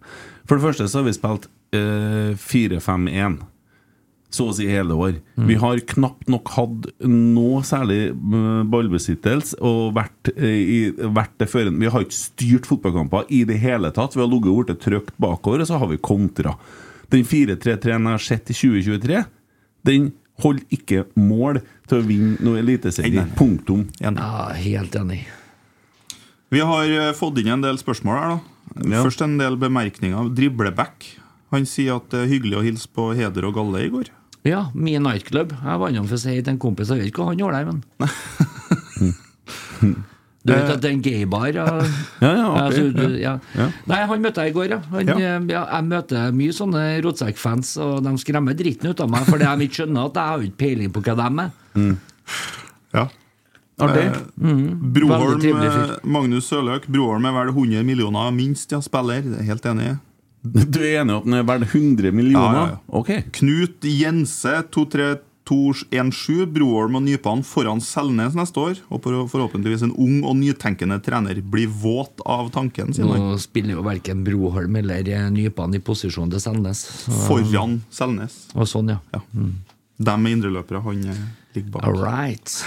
Speaker 2: For det første så har vi spilt eh, 4-5-1. så å si hele år. Vi har knapt nok hatt noe særlig mm, ballbesittelse og vært, eh, i, vært det førende. Vi har ikke styrt fotballkamper i det hele tatt. Vi har ligget og blitt trykt bakover, og så har vi kontra. Den 4-3-3-en jeg har sett i 2023, den holder ikke mål til å vinne noe
Speaker 3: Nei,
Speaker 2: eliteserie.
Speaker 3: nei.
Speaker 2: Punktum.
Speaker 3: Enig.
Speaker 4: Ja, helt enig.
Speaker 3: Vi har eh, fått inn en del spørsmål her, da.
Speaker 2: Ja.
Speaker 3: Først en del bemerkninger. Dribleback. Han sier at det er hyggelig å hilse på Heder og Galle i går.
Speaker 4: Ja, min nightclub. Jeg var innom for å si til en kompis, jeg vet ikke hva han gjorde der, men Du vet at det er en gaybar? Ja,
Speaker 2: Eh. Ja, ja, artig,
Speaker 4: altså, du-
Speaker 2: ja.
Speaker 4: ja. Nei, han møtte jeg i går, ja. Han,
Speaker 3: Ja.
Speaker 4: eh, ja jeg møter mye sånne rotsekkfans, og de skremmer dritten ut av meg fordi de ikke skjønner at jeg har jo ikke peiling på hva de er.
Speaker 3: Ja.
Speaker 2: Artig.
Speaker 3: Broholm,
Speaker 4: Veldig trivelig fyr.
Speaker 3: eh, Magnus Sørløk. Broholm er vel 100 millioner minst, ja, spiller. Helt enig.
Speaker 2: Du er enig i at den er verdt 100 millioner?
Speaker 3: Ja, ja, ja.
Speaker 2: Ok.
Speaker 3: Knut Jense 23217 Broholm og Nypan foran Selnes neste år. Og for- forhåpentligvis en ung og nytenkende trener blir våt av tanken, sier han.
Speaker 4: Nå spiller jo verken Broholm eller eh, Nypan i posisjon til Selnes. så-
Speaker 3: Foran Selnes.
Speaker 4: Og sånn, ja.
Speaker 3: Ja. De er indreløpere. Han eh, ligger bak.
Speaker 4: All right.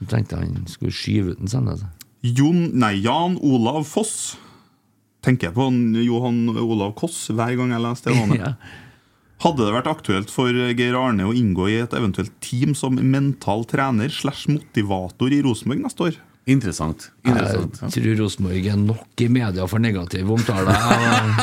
Speaker 4: Jeg tenkte han skulle skyve ut altså. en Selnes.
Speaker 3: Jon, nei, Jan Olav Foss. Tenker jeg på han Johan Olav Koss hver gang jeg leser det navnet.
Speaker 4: Ja.
Speaker 3: Hadde det vært aktuelt for eh, Geir Arne å inngå i et eventuelt team som mental trener slash motivator i Rosenborg neste år?
Speaker 2: Interessant. Interessant.
Speaker 4: Jeg tror Rosenborg er nok i media for negative omtaler. Jeg,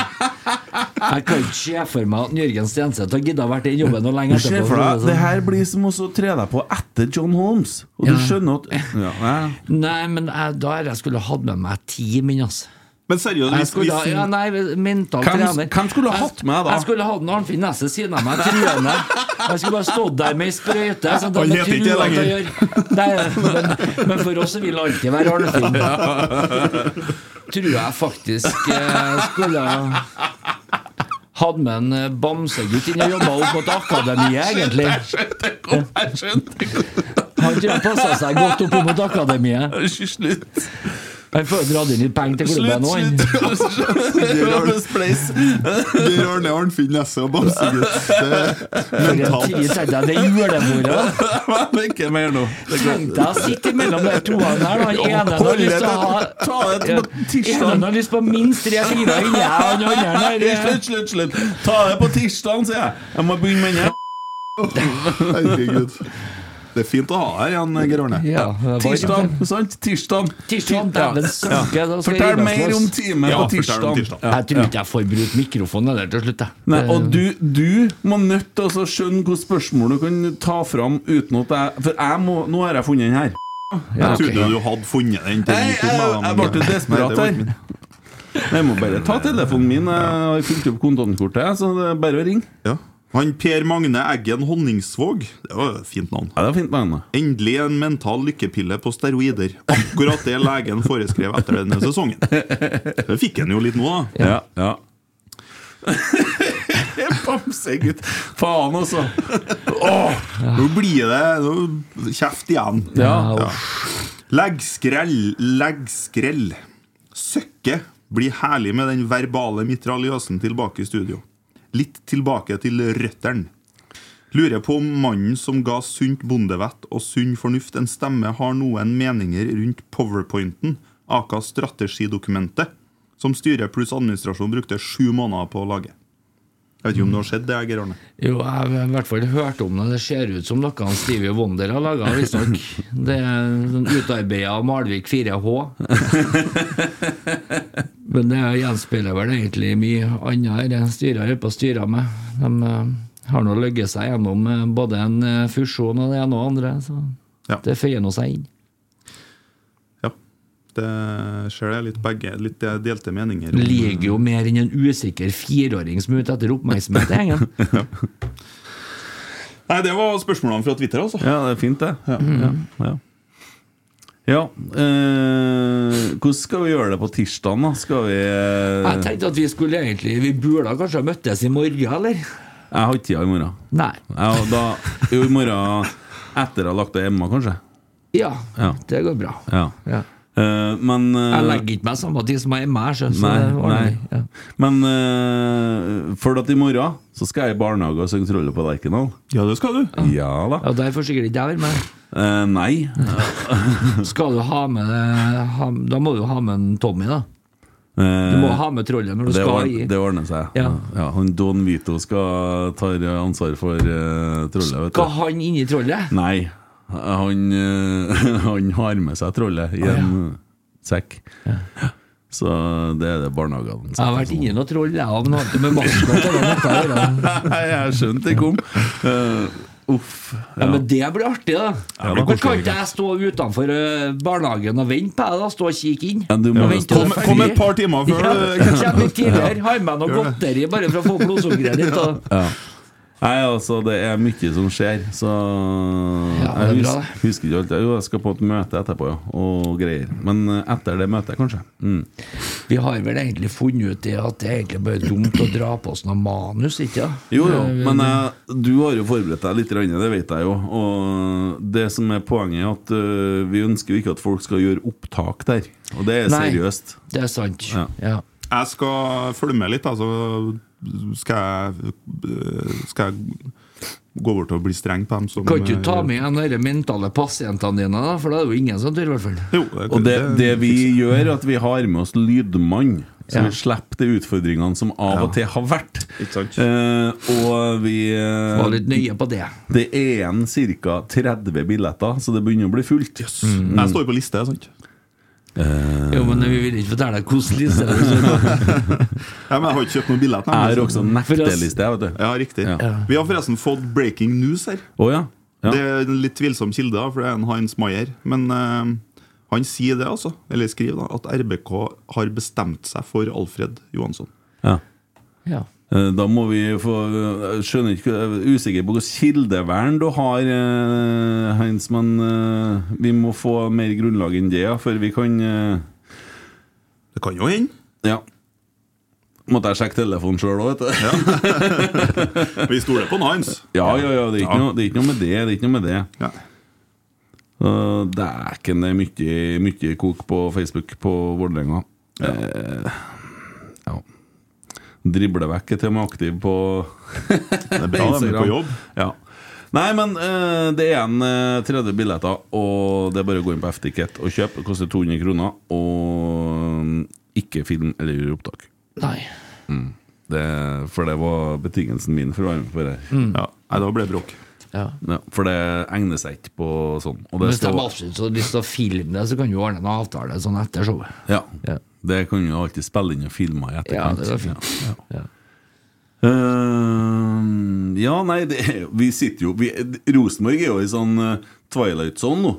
Speaker 4: jeg kan ikke se for meg at Jørgen Stenseth har giddet å vært i den jobben noe lenge
Speaker 2: Du ser
Speaker 4: etterpå.
Speaker 2: for
Speaker 4: for
Speaker 2: deg,
Speaker 4: å
Speaker 2: det
Speaker 4: si det sånn.
Speaker 2: her blir som å så tre deg på etter John Holmes. Og
Speaker 4: Ja.
Speaker 2: du skjønner at ja, nei.
Speaker 4: Nei, men jeg, da er jeg skulle hatt med meg team inn, altså.
Speaker 3: Men seriøst,
Speaker 4: Jeg
Speaker 3: hvis,
Speaker 4: skulle, ha-
Speaker 3: hvis,
Speaker 4: ja, nei, mental
Speaker 2: Hvem-
Speaker 4: trener.
Speaker 2: hvem skulle ha
Speaker 4: Jeg-
Speaker 2: hatt med da?
Speaker 4: Jeg skulle hatt en Arnfinn Nesset siden av meg, truende. Jeg skulle bare stått der med ei sprøyte. sånn at
Speaker 3: Han
Speaker 4: jeg
Speaker 3: heter ikke
Speaker 4: truende
Speaker 3: lenger.
Speaker 4: å gjøre. Nei, men, men for oss så vil det alltid være Arnfinn. Tror jeg faktisk eh, skulle ha- hatt med en eh, bamsegutt inn og jobba opp mot akademiet, egentlig.
Speaker 2: Jeg skjønte
Speaker 4: Han tror jeg passa seg godt opp mot akademiet.
Speaker 2: ikke Slutt.
Speaker 4: Han får jo dratt inn litt penger til klubben nå, han.
Speaker 3: Geir Arne Arnfinn Nesse og Bamsegutt det-
Speaker 4: For en tid
Speaker 3: mentalt
Speaker 4: siden, det julebordet.
Speaker 2: Ikke mer nå.
Speaker 4: Tenk deg å sitte mellom de to her. Han ene har lyst til å ha
Speaker 2: Ta det
Speaker 4: Ja,
Speaker 2: på tirsdag.
Speaker 4: ene har lyst på minst tre-fire inni jeg, og den andre har
Speaker 2: Slutt, slutt, slutt. Ta det på tirsdag, sier jeg. Jeg må begynne med den.
Speaker 3: Herregud. Det er fint å ha her igjen, Geir Arne.
Speaker 4: ja, det var-
Speaker 2: Tirsdag, sant? Tirsdag.
Speaker 4: Tirsdag, dæven søkke, da skal jeg
Speaker 2: Fortell
Speaker 4: gi meg
Speaker 2: mer
Speaker 4: slags.
Speaker 2: om time
Speaker 3: Ja,
Speaker 2: på
Speaker 3: fortell om
Speaker 2: tirsdag.
Speaker 3: tirsdag.
Speaker 2: Ja.
Speaker 4: Jeg tror ikke jeg får brukt mikrofonen heller til slutt, jeg.
Speaker 2: Nei,
Speaker 4: Eh.
Speaker 2: og du, du må nødt til å skjønne hvilke spørsmål du kan ta fram uten at jeg For jeg må, nå har jeg funnet den her.
Speaker 4: Ja,
Speaker 3: Jeg
Speaker 4: ok.
Speaker 3: trodde du hadde funnet den. til
Speaker 2: Nei,
Speaker 3: den gikk
Speaker 2: jeg,
Speaker 3: ut med
Speaker 2: jeg,
Speaker 3: dem.
Speaker 2: jeg ble jo
Speaker 3: Nei, det
Speaker 2: desperat
Speaker 3: var
Speaker 2: her.
Speaker 3: ikke min.
Speaker 2: Jeg må bare ta telefonen min. Jeg har fulgt opp kontantkortet, jeg, så det er bare å ringe.
Speaker 3: Ja. Han Per Magne Eggen Honningsvåg. Det var et fint navn.
Speaker 2: Ja, det var fint med henne.
Speaker 3: Endelig en mental lykkepille på steroider. Akkurat det legen foreskrev etter denne sesongen. Det fikk han jo litt nå, da.
Speaker 2: Ja. ja. Bamsegutt. Faen, altså.
Speaker 3: Åh, nå blir det nå, kjeft igjen.
Speaker 2: Ja.
Speaker 3: Ja. Leggskrell, leggskrell. Søkke blir herlig med den verbale mitraljøsen tilbake i studio. Litt tilbake til røttene. Lurer på om mannen som ga sunt bondevett og sunn fornuft en stemme, har noen meninger rundt powerpointen, aka strategidokumentet, som styret pluss administrasjon brukte sju måneder på å lage. Jeg vet ikke om det har skjedd, det, Geir Arne.
Speaker 4: Jo, jeg har i hvert fall hørt om det. Det ser ut som noe han Stevie Wonder har laga, visstnok. Det er sånn utarbeida av Malvik 4H. Men det gjenspeiler vel egentlig mye annet her. Det Styret holder på å styre med. De eh, har nå løyet seg gjennom eh, både en eh, fusjon og det ene og det andre, så
Speaker 3: Ja.
Speaker 4: det føyer nå seg inn.
Speaker 3: Ja. Det ser jeg litt begge litt delte meninger.
Speaker 4: Det ligger jo mer enn en usikker fireåring som er ute etter oppmerksomhet i gjengen.
Speaker 3: Nei, det var spørsmålene fra Twitter, altså.
Speaker 2: Ja, det er fint, det. Ja, ja, ja. ja eh, hvordan skal vi gjøre det på tirsdag, da? Skal vi eh,
Speaker 4: Jeg
Speaker 2: Jeg
Speaker 4: tenkte at vi skulle egentlig Vi burde kanskje ha møttes i morgen, eller?
Speaker 2: har ikke tida i morgen.
Speaker 4: Nei.
Speaker 2: Jeg, da, jo, i morgen etter jeg har lagt av hjemme, kanskje.
Speaker 4: Ja,
Speaker 2: Ja.
Speaker 4: det går bra.
Speaker 2: Ja.
Speaker 4: Ja.
Speaker 2: Eh, men eh,
Speaker 4: Jeg legger ikke meg samme tid som jeg er meg, sjø, så
Speaker 2: Nei,
Speaker 4: det ordner
Speaker 2: nei.
Speaker 4: jeg. Ja.
Speaker 2: Men eh, for at i morgen så skal jeg i barnehage og synge Trollet på Lerkendal.
Speaker 3: Ja, det skal du.
Speaker 2: Ja da.
Speaker 4: Ja, Derfor sikkert ikke jeg, men
Speaker 2: Eh, nei.
Speaker 4: skal du ha med ha, Da må du ha med en Tommy, da.
Speaker 2: Eh,
Speaker 4: Du må ha med trollet når du
Speaker 2: det,
Speaker 4: skal
Speaker 2: ord-
Speaker 4: i
Speaker 2: det ordner seg.
Speaker 4: Ja.
Speaker 2: han Don Vito skal ta ansvar for eh, trollet. Vet
Speaker 4: Skal
Speaker 2: du.
Speaker 4: han inn i trollet?
Speaker 2: Nei. Han, eh, han har med seg trollet i en sekk. Så det er det barnehagene
Speaker 4: Jeg har vært inni noe troll, jeg òg, men har ikke med maskot eller noe å gjøre.
Speaker 2: Nei, jeg skjønte det kom. Eh, uff.
Speaker 4: Ja, men det blir artig, da.
Speaker 2: det blir
Speaker 4: men kan
Speaker 2: koselig,
Speaker 4: ikke jeg stå utenfor ø, barnehagen og vente på deg, da? Stå og kikke inn?
Speaker 2: Ja, du må-
Speaker 4: Og vente
Speaker 3: Kom,
Speaker 4: til det er
Speaker 3: kom
Speaker 4: ferdig.
Speaker 3: et par timer før
Speaker 4: Ja,
Speaker 3: du
Speaker 4: Kjem litt tidligere, har med noe godteri bare for å få blodsukkeret litt. Og...
Speaker 2: Nei, altså, det er mye som skjer, så
Speaker 4: Ja, det er
Speaker 2: Jeg
Speaker 4: bra,
Speaker 2: husker, husker ikke alt. Jo, jeg skal på et møte etterpå, ja, og greier. Men eh, etter det møtet, kanskje. Mm.
Speaker 4: Vi har vel egentlig funnet ut det at det er egentlig bare dumt å dra på oss noe manus, ikke sant?
Speaker 2: Jo, jo, men eh, du har jo forberedt deg litt, grann, det vet jeg jo. Og det som er poenget, er at eh, vi ønsker jo ikke at folk skal gjøre opptak der. Og det er
Speaker 4: Nei.
Speaker 2: seriøst.
Speaker 4: Det er sant.
Speaker 2: Ja.
Speaker 4: Ja.
Speaker 3: Jeg skal følge med litt, da, så skal jeg, eh, skal jeg gå bort og bli streng på dem som
Speaker 4: Kan ikke du ta
Speaker 3: eh,
Speaker 4: med igjen de mentale pasientene dine, da? For da er det jo ingen som tør, i hvert fall.
Speaker 3: Jo, det,
Speaker 2: Og det, det vi gjør, er at vi har med oss lydmann. Så
Speaker 4: Ja.
Speaker 2: vi slipper de utfordringene som av og til har vært.
Speaker 3: Ikke sant.
Speaker 2: Eh, og vi eh,
Speaker 4: Var litt nøye på det.
Speaker 2: Det er igjen ca. 30 billetter, så det begynner å bli fullt. Mm. Eh,
Speaker 3: Jeg står jo på liste, sant?
Speaker 4: Jo, men vi vil ikke fortelle deg hvordan liste det er.
Speaker 3: Ja, men jeg har ikke kjøpt noen billett.
Speaker 2: Jeg har
Speaker 3: nemlig.
Speaker 2: også nekteliste, jeg, vet du.
Speaker 3: Ja, riktig.
Speaker 2: Ja.
Speaker 3: Vi har forresten fått breaking news her.
Speaker 2: Å ja. ja.
Speaker 3: Det er en litt tvilsom kilde, da, for det er en Hans Maier. Men eh, han sier det, altså. Eller skriver, da. At RBK har bestemt seg for Alfred Johansson.
Speaker 2: ja.
Speaker 4: Ja.
Speaker 2: Eh, Da må vi få Jeg skjønner ikke, jeg er usikker på hvilket kildevern du har, eh, Heinz, men eh, vi må få mer grunnlag enn det ja, før vi kan eh,
Speaker 3: Det kan jo hende.
Speaker 2: Ja. Måtte jeg sjekke telefonen sjøl òg, vet du.
Speaker 3: Vi stoler på Hans.
Speaker 2: Ja, ja, ja, det er ikke, Noe, det er ikke noe med det. Det er ikke noe med det.
Speaker 3: Ja.
Speaker 2: Uh, Dæken, det er mye, mye kok på Facebook på Vålerenga. Ja. ja. Dribler vekk til de er aktive på
Speaker 3: Det er bra de er på jobb.
Speaker 2: Ja. Nei, men eh, det er igjen eh, 30 billetter, og det er bare å gå inn på F-ticket og kjøpe. Det koster 200 kroner. Og mm, ikke film eller gjøre opptak.
Speaker 4: Nei.
Speaker 2: Det, for det var betingelsen min for å være med på det. her.
Speaker 3: Ja. Mm. Nei, da ble det bråk.
Speaker 4: Ja.
Speaker 2: Ja, for det egner seg ikke på sånn. Og det
Speaker 4: Hvis de
Speaker 2: skal-
Speaker 4: absolutt har lyst til å filme det, så kan du ordne en avtale sånn etter showet.
Speaker 2: Ja.
Speaker 4: Ja.
Speaker 2: Det kan du alltid spille inn og filme i
Speaker 4: Ja,
Speaker 2: etterkant.
Speaker 4: det er fint.
Speaker 2: Ja.
Speaker 4: Ja.
Speaker 2: Eh, ja, nei, det, vi sitter jo vi, Rosenborg er jo i sånn eh, twilight-sone nå.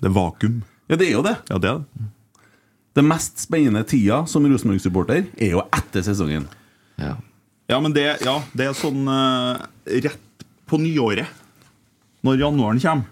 Speaker 3: Det er vakuum.
Speaker 2: Ja, det er jo det.
Speaker 3: Ja, det er det.
Speaker 2: Det mest spennende tida som Rosenborg-supporter er jo etter sesongen.
Speaker 4: Ja.
Speaker 3: Ja, men det, ja, det er sånn eh, rett på nyåret. Når januaren kommer.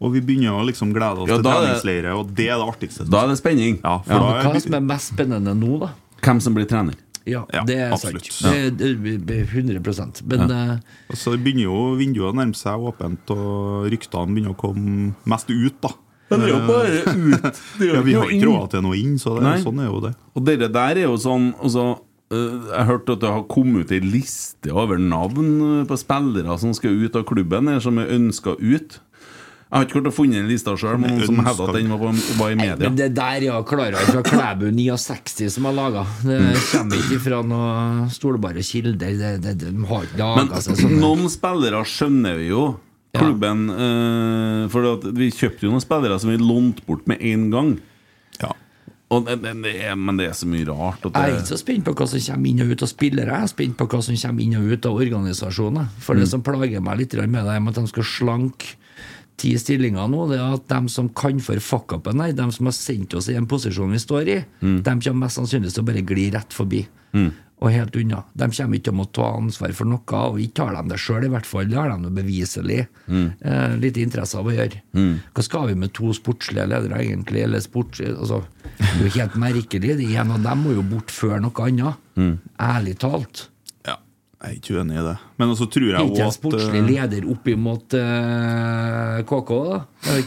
Speaker 3: Og vi begynner å liksom glede oss
Speaker 2: Ja,
Speaker 3: til
Speaker 2: da er det-
Speaker 3: treningsleire, og det er det artigste.
Speaker 2: Da er det spenning.
Speaker 3: Ja, for
Speaker 2: Ja.
Speaker 3: da
Speaker 4: Hva er det som er mest spennende nå, da?
Speaker 2: Hvem som blir trener.
Speaker 4: Ja,
Speaker 3: Ja,
Speaker 4: det er sant.
Speaker 3: absolutt.
Speaker 4: Det- det- det- 100 Men eh,
Speaker 3: Og så begynner jo vinduet å nærme seg åpent, og ryktene begynner å komme mest ut, da.
Speaker 2: Det er jo bare ut.
Speaker 3: Ja, vi har ikke råd til noe inn, så det,
Speaker 2: Nei.
Speaker 3: sånn er jo det.
Speaker 2: Og dere der er jo sånn altså, eh, Jeg hørte at det har kommet ut ei liste over navn eh, på spillere som skal ut av klubben, eller som er ønska ut. Jeg har ikke klart å finne den lista sjøl, men noen som
Speaker 3: Ønsket.
Speaker 2: hevda at den var, på, var i media.
Speaker 4: Men det der er jo Klara fra Klæbu 69 som har laga. Det kommer ikke fra noen stolbare kilder. Det, det, de har ikke
Speaker 2: Men
Speaker 4: laga seg sånn.
Speaker 2: noen spillere skjønner vi jo. Klubben eh, For at vi kjøpte jo noen spillere som vi lånte bort med en gang.
Speaker 3: Ja.
Speaker 2: Og, det- det- det er- men det er så mye rart. At
Speaker 4: Jeg er
Speaker 2: det,
Speaker 4: ikke så spent på hva som kommer inn og ut av spillere. Jeg er spent på hva som kommer inn og ut av organisasjoner. For
Speaker 2: Mm.
Speaker 4: det som plager meg litt med det, er at de skal slanke ti stillinger nå. Det er at de som kan for fuck-upen her, de som har sendt oss i den posisjonen vi står i,
Speaker 2: Mm.
Speaker 4: de kommer mest sannsynlig til å bare gli rett forbi. Og helt unna. De kommer ikke til å måtte ta ansvar for noe, og ikke har de det sjøl, i hvert fall. Det har de noe beviselig
Speaker 3: Mm.
Speaker 4: eh, lite interesse av å gjøre. Hva skal vi med to sportslige ledere, egentlig? Eller sports... Altså, det er jo helt merkelig. Det er En av dem må jo bort før noe annet.
Speaker 3: Mm.
Speaker 4: Ærlig talt.
Speaker 3: ja. Jeg er ikke uenig i det. Men også tror jeg
Speaker 4: Ikke en
Speaker 3: også at
Speaker 4: sportslig
Speaker 3: eh,
Speaker 4: leder opp imot eh, KK, da? Eller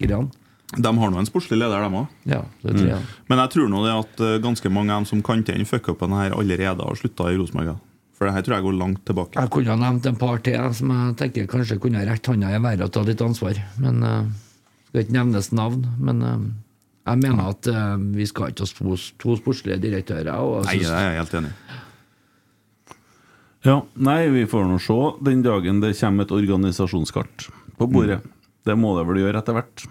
Speaker 4: kvinnegreiene.
Speaker 3: De har nå en sportslig leder, dem òg.
Speaker 4: Ja, det
Speaker 3: Mm.
Speaker 4: tror jeg.
Speaker 3: Men jeg tror nå det at eh, ganske mange av dem som kan til den fuckupen her, allerede har slutta i Rosenborg. ja. For det her tror jeg går langt tilbake.
Speaker 4: Jeg kunne ha nevnt en par til jeg, som jeg tenker kanskje kunne ha rekt hånda i været og tatt litt ansvar. Men eh, skal ikke nevnes navn. Men eh, jeg mener at eh, vi skal ikke ha to, to sportslige direktører. Og,
Speaker 3: Nei,
Speaker 4: jeg
Speaker 3: det er
Speaker 4: synes-
Speaker 3: jeg helt enig i.
Speaker 2: Ja, nei, vi får nå se den dagen det kommer et organisasjonskart på bordet.
Speaker 3: Mm.
Speaker 2: Det må det vel gjøre etter hvert.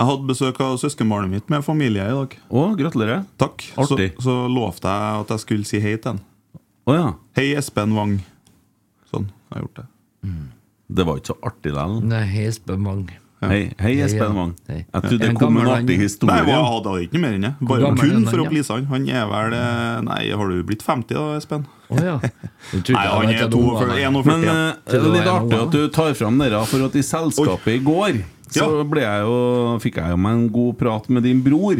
Speaker 3: Jeg hadde besøk av søskenbarnet mitt med familie i dag.
Speaker 2: Å, gratulerer.
Speaker 3: Takk. Så,
Speaker 2: Artig.
Speaker 3: så lovte jeg at jeg skulle si hei til han.
Speaker 2: Å ja.
Speaker 3: Hei, Espen Wang. Sånn. Jeg har gjort det.
Speaker 2: Det var ikke så artig likevel.
Speaker 4: Nei, Espen Mang.
Speaker 2: Hei, hei
Speaker 4: Hei,
Speaker 2: Espen
Speaker 4: ja.
Speaker 2: Wang.
Speaker 4: Hei.
Speaker 2: Jeg trodde det
Speaker 4: En
Speaker 2: kom
Speaker 4: gammel
Speaker 2: en
Speaker 4: mann.
Speaker 2: artig
Speaker 3: Nei,
Speaker 2: historie.
Speaker 3: jeg hadde ikke noe mer enn det. Bare
Speaker 4: gammel er
Speaker 3: kun
Speaker 4: han,
Speaker 3: for å
Speaker 4: ja?
Speaker 3: please han. Han er vel eh, Nei, har du blitt 50 da, Espen?
Speaker 4: Å ja. Du trodde
Speaker 3: Nei,
Speaker 4: jeg
Speaker 3: han
Speaker 4: vet
Speaker 3: er
Speaker 4: at
Speaker 3: 42,
Speaker 4: ungene-
Speaker 3: 41.
Speaker 2: Men
Speaker 3: ja.
Speaker 2: eh, det
Speaker 4: Til
Speaker 2: er
Speaker 4: det
Speaker 2: litt
Speaker 4: var
Speaker 2: artig
Speaker 4: noe.
Speaker 2: at du tar fram dere, for at i selskapet i går så
Speaker 3: Ja.
Speaker 2: ble jeg jo, fikk jeg jo meg en god prat med din bror.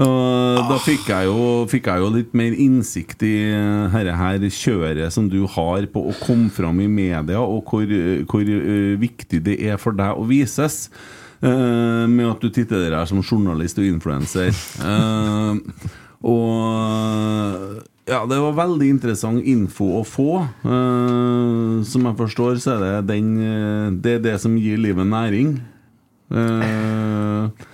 Speaker 2: Og da fikk jeg, jo, fikk jeg jo litt mer innsikt i dette her kjøret som du har på å komme fram i media, og hvor, eh, hvor eh, viktig det er for deg å vises. eh, med at du titulerer deg som journalist og influenser. og ja, det var veldig interessant info å få. Eh, som jeg forstår, så er det den eh, Det er det som gir livet næring. Eh,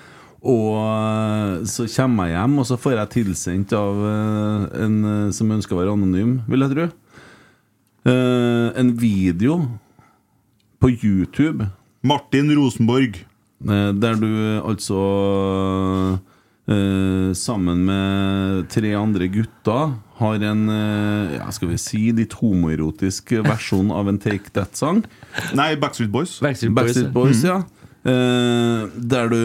Speaker 2: og eh, så kommer jeg hjem, og så får jeg tilsendt av eh, en eh, som ønsker å være anonym, vil jeg tro. Eh, en video på YouTube
Speaker 3: Martin Rosenborg.
Speaker 2: Eh, Der du eh, altså eh, Sammen med tre andre gutter har en eh, ja, skal vi si, litt homoerotisk versjon av en Take That-sang.
Speaker 3: Nei, Backstreet Boys.
Speaker 4: Backstreet Boys.
Speaker 2: Backstreet Boys, ja. Eh, der du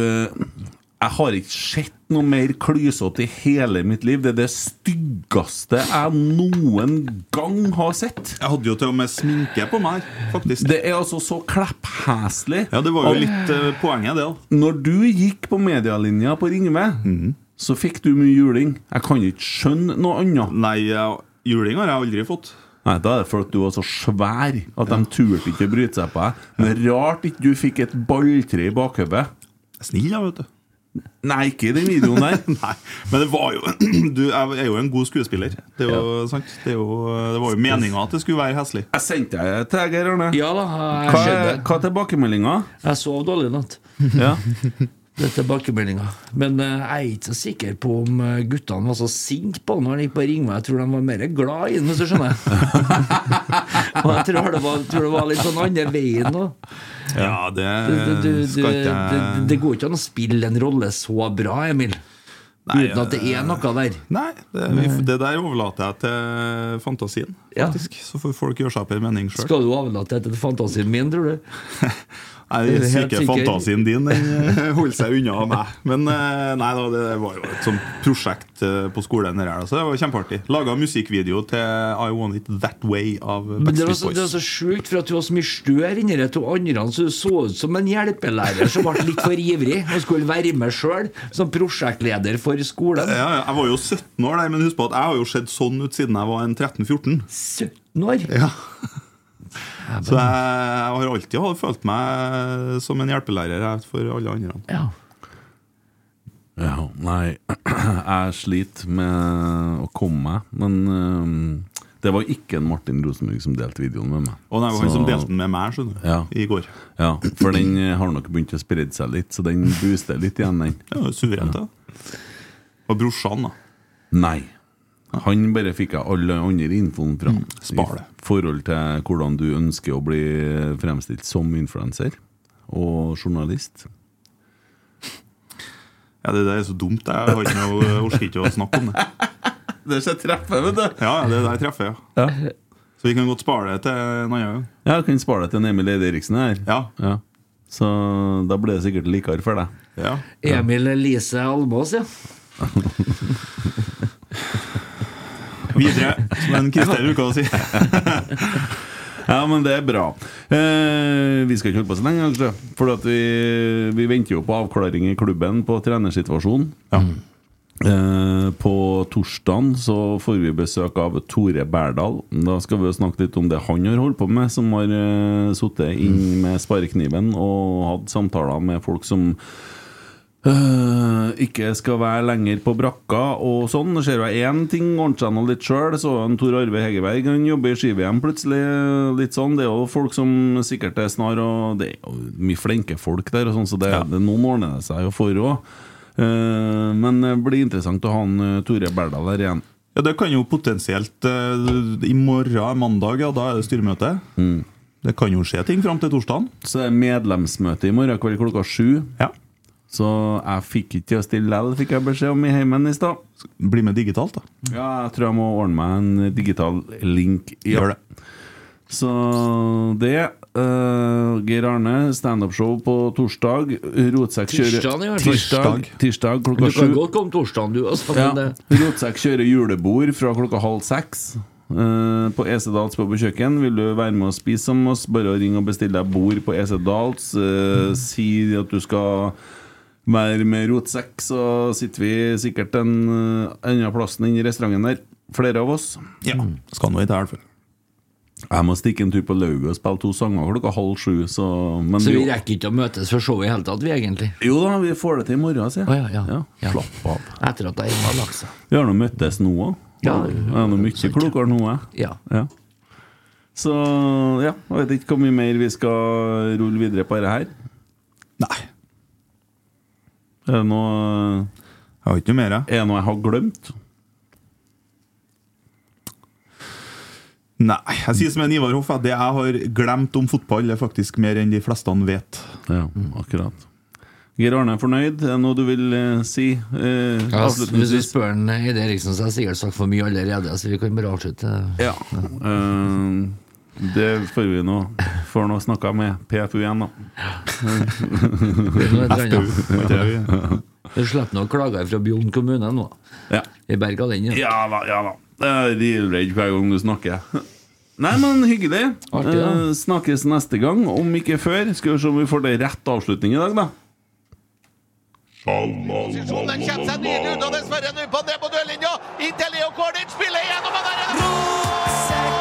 Speaker 2: Jeg har ikke sett noe mer klysete i hele mitt liv. Det er det styggeste jeg noen gang har sett.
Speaker 3: Jeg hadde jo til og med sminke på meg, faktisk.
Speaker 2: Det er altså så kleppheslig.
Speaker 3: ja, det var
Speaker 2: at-
Speaker 3: jo litt eh, poenget, det. da
Speaker 2: Når du gikk på medialinja på Ringve,
Speaker 3: Mhm.
Speaker 2: så fikk du mye juling. Jeg kan ikke skjønne noe annet.
Speaker 3: Nei, jeg- juling har jeg aldri fått.
Speaker 2: Nei, Da er det fordi du var så svær at de turte ikke å bryte seg på deg. Men rart ikke du fikk et balltre i bakhodet.
Speaker 3: Snill, da, vet du.
Speaker 2: Nei, ikke i den videoen der.
Speaker 3: Nei, men det var jo Du jeg er jo en god skuespiller. Det, er jo, sant? det, er jo, eh, det var jo meninga at det skulle være heslig.
Speaker 2: Jeg sendte deg til deg, Geir Arne.
Speaker 4: Ja da, jeg
Speaker 2: Hva
Speaker 4: ser
Speaker 2: er,
Speaker 4: det.
Speaker 2: hva er tilbakemeldinga?
Speaker 4: Jeg sov dårlig i natt.
Speaker 2: Ja.
Speaker 4: Det er tilbakemeldinga. Men eh, jeg er ikke så sikker på om eh, guttene var så sinte på han når han gikk på Ringvei. Jeg tror de var mer glad i han, hvis du skjønner. Og jeg tror det var, tror det var litt sånn andre veien òg.
Speaker 3: Ja, det
Speaker 4: Du, du, du, du,
Speaker 3: Eh, skal ikke
Speaker 4: det- det går ikke an å spille en rolle så bra, Emil,
Speaker 3: Nei, eh,
Speaker 4: uten at det er noe der.
Speaker 3: Nei, det, vi- det der overlater jeg til fantasien,
Speaker 4: Ja.
Speaker 3: faktisk. Så får folk gjøre seg opp en mening sjøl.
Speaker 4: Skal du overlate dette til fantasien min, tror du?
Speaker 3: Nei, den
Speaker 4: Helt
Speaker 3: syke
Speaker 4: sikker.
Speaker 3: fantasien din den eh, holder seg unna meg. Men eh, nei da, det var jo et sånt prosjekt eh, på skolen. det Der, så det var kjempeartig. Laga musikkvideo til I Want It That Way av
Speaker 4: Men det var
Speaker 3: Backstreet
Speaker 4: så, det var
Speaker 3: Boys.
Speaker 4: så sjukt, for at du var så mye stør inni de to andre, så du så ut som en hjelpelærer som ble litt for ivrig og skulle være med sjøl, som prosjektleder for skolen.
Speaker 3: Ja, ja, jeg var jo 17 år, der, men husk på at jeg har jo sett sånn ut siden jeg var en 13-14.
Speaker 4: 17 år!
Speaker 3: Så jeg, jeg har alltid ha- følt meg som en hjelpelærer jeg, for alle andre.
Speaker 4: Ja.
Speaker 2: ja. Nei, jeg sliter med å komme meg, men øhm, det var ikke en Martin Rosenborg som delte videoen med meg.
Speaker 3: Og det var han
Speaker 2: Så-
Speaker 3: som delte den med meg skjønner du,
Speaker 2: Ja.
Speaker 3: i går.
Speaker 2: Ja, for den eh, har nok begynt å spredde seg litt, så den booster litt igjen, den.
Speaker 3: Det var jo suverent, det. Og brorsan, da.
Speaker 2: Nei. Han bare fikk jeg alle andre infoen fra.
Speaker 3: Mm, spar det.
Speaker 2: I forhold til hvordan du ønsker å bli fremstilt som influenser og journalist.
Speaker 3: Ja, Det der er så dumt. Jeg, har ikke noe, jeg orker ikke å snakke om det.
Speaker 2: Det er så treffet, vet du!
Speaker 3: Ja, ja, det er der jeg treffer, ja. Så vi kan godt spare det til en annen gang.
Speaker 2: Ja, jeg kan spare deg til en Emil Eide Eriksen her.
Speaker 3: Ja.
Speaker 2: Ja. Så da blir det sikkert likere for deg.
Speaker 3: ja.
Speaker 4: Emil Elise Almås, ja.
Speaker 3: Videre, som en Christer bruker å si.
Speaker 2: Ja, men det er bra. Eh, vi skal ikke holde på så lenge, kanskje. For at vi, vi venter jo på avklaring i klubben på trenersituasjonen. Eh, på torsdagen så får vi besøk av Tore Berdal. Da skal vi jo snakke litt om det han har holdt på med, som har uh, sittet inn med sparekniven og hatt samtaler med folk som øh, ikke skal være lenger på brakka og sånn. Det skjer jo én ting, ordner seg nå litt sjøl. Så han Tor Arve Hegerberg han jobber i ski-VM plutselig. Litt sånn. Det er jo folk som sikkert er snar, og det er jo mye flinke folk der, og sånn, så det, det, noen ordner det seg jo for òg. men det blir interessant å ha han eh, Tore Berdal her igjen.
Speaker 3: Ja, Det kan jo potensielt eh, I morgen, mandag, ja, da er det styremøte. Det kan jo skje ting fram til torsdagen.
Speaker 2: Så det er medlemsmøte i morgen kveld klokka sju.
Speaker 3: Ja.
Speaker 2: Så jeg fikk ikke til å stille likevel, fikk jeg beskjed om i heimen i stad.
Speaker 3: Bli med digitalt, da.
Speaker 2: Ja, jeg tror jeg må ordne meg en digital link. Ja.
Speaker 3: Gjør det.
Speaker 2: Så det eh, Geir Arne, standup-show på torsdag. Rotsekk kjører
Speaker 4: Tirsdagen i hvert fall.
Speaker 2: tirsdag, tirsdag
Speaker 4: Du
Speaker 2: klokka
Speaker 4: kan
Speaker 2: sju.
Speaker 4: godt komme torsdagen, du også.
Speaker 2: Ja.
Speaker 4: Men det,
Speaker 2: Rotsekk kjører julebord fra klokka halv seks. eh, på EC Dals pub og kjøkken. Vil du være med og spise sammen med oss, bare ring og bestill deg bord på EC Dals.
Speaker 3: Mm.
Speaker 2: eh, si at du skal være med rotsekk, så sitter vi sikkert en eh, annen plass enn i restauranten der. Flere av oss.
Speaker 3: Ja, Skal nå ikke her, i hvert fall.
Speaker 2: Jeg må stikke en tur på lauget og spille to sanger klokka halv sju. Så, men
Speaker 4: så vi
Speaker 2: jo,
Speaker 4: rekker ikke å møtes for showet i hele tatt, vi egentlig.
Speaker 2: jo da, vi får det til i morgen, sier jeg.
Speaker 4: Å, ja, ja. Ja.
Speaker 2: Slapp av.
Speaker 4: Etter at jeg har lagt seg.
Speaker 2: Vi har nå møttes nå òg.
Speaker 4: Ja,
Speaker 2: jeg er nå mye klokere nå, jeg.
Speaker 4: Ja.
Speaker 2: Ja. Så ja, jeg vet ikke hvor mye mer vi skal rulle videre på dette her.
Speaker 3: Nei,
Speaker 2: Er det noe,
Speaker 3: jeg har ikke noe mer. jeg.
Speaker 2: er det noe jeg har glemt?
Speaker 3: Nei, jeg sier som en Ivar Hoff, at det jeg har glemt om fotball, er faktisk mer enn de fleste vet.
Speaker 2: Ja,
Speaker 4: Mm.
Speaker 2: akkurat. Geir Arne er fornøyd. Er det noe du vil eh, si? eh,
Speaker 4: Ja, s- hvis vi
Speaker 2: avslutningsvis?
Speaker 4: spør en Eide Eriksen, så har jeg sikkert sagt for mye allerede, så vi kan bare avslutte.
Speaker 2: Ja. Eh, det får vi nå Får nå snakka med PFU igjen, da.
Speaker 4: Nå er det
Speaker 3: Du,
Speaker 4: annet.
Speaker 3: var ikke det vi-
Speaker 4: Du slipper nå klager fra Bjugn kommune nå.
Speaker 2: Ja.
Speaker 4: Vi berga den. ja.
Speaker 2: ja da, ja da. Jeg er livredd hver gang du snakker. Nei, men hyggelig.
Speaker 4: Artig, da.
Speaker 2: Eh, snakkes neste gang, om ikke før. Skal vi se om vi får det rett avslutning i dag, da.
Speaker 1: Posisjonen kommer seg nydelig ut, og dessverre nå på ned på duellinja. Inntil Leo Kornic spiller igjennom, og der er det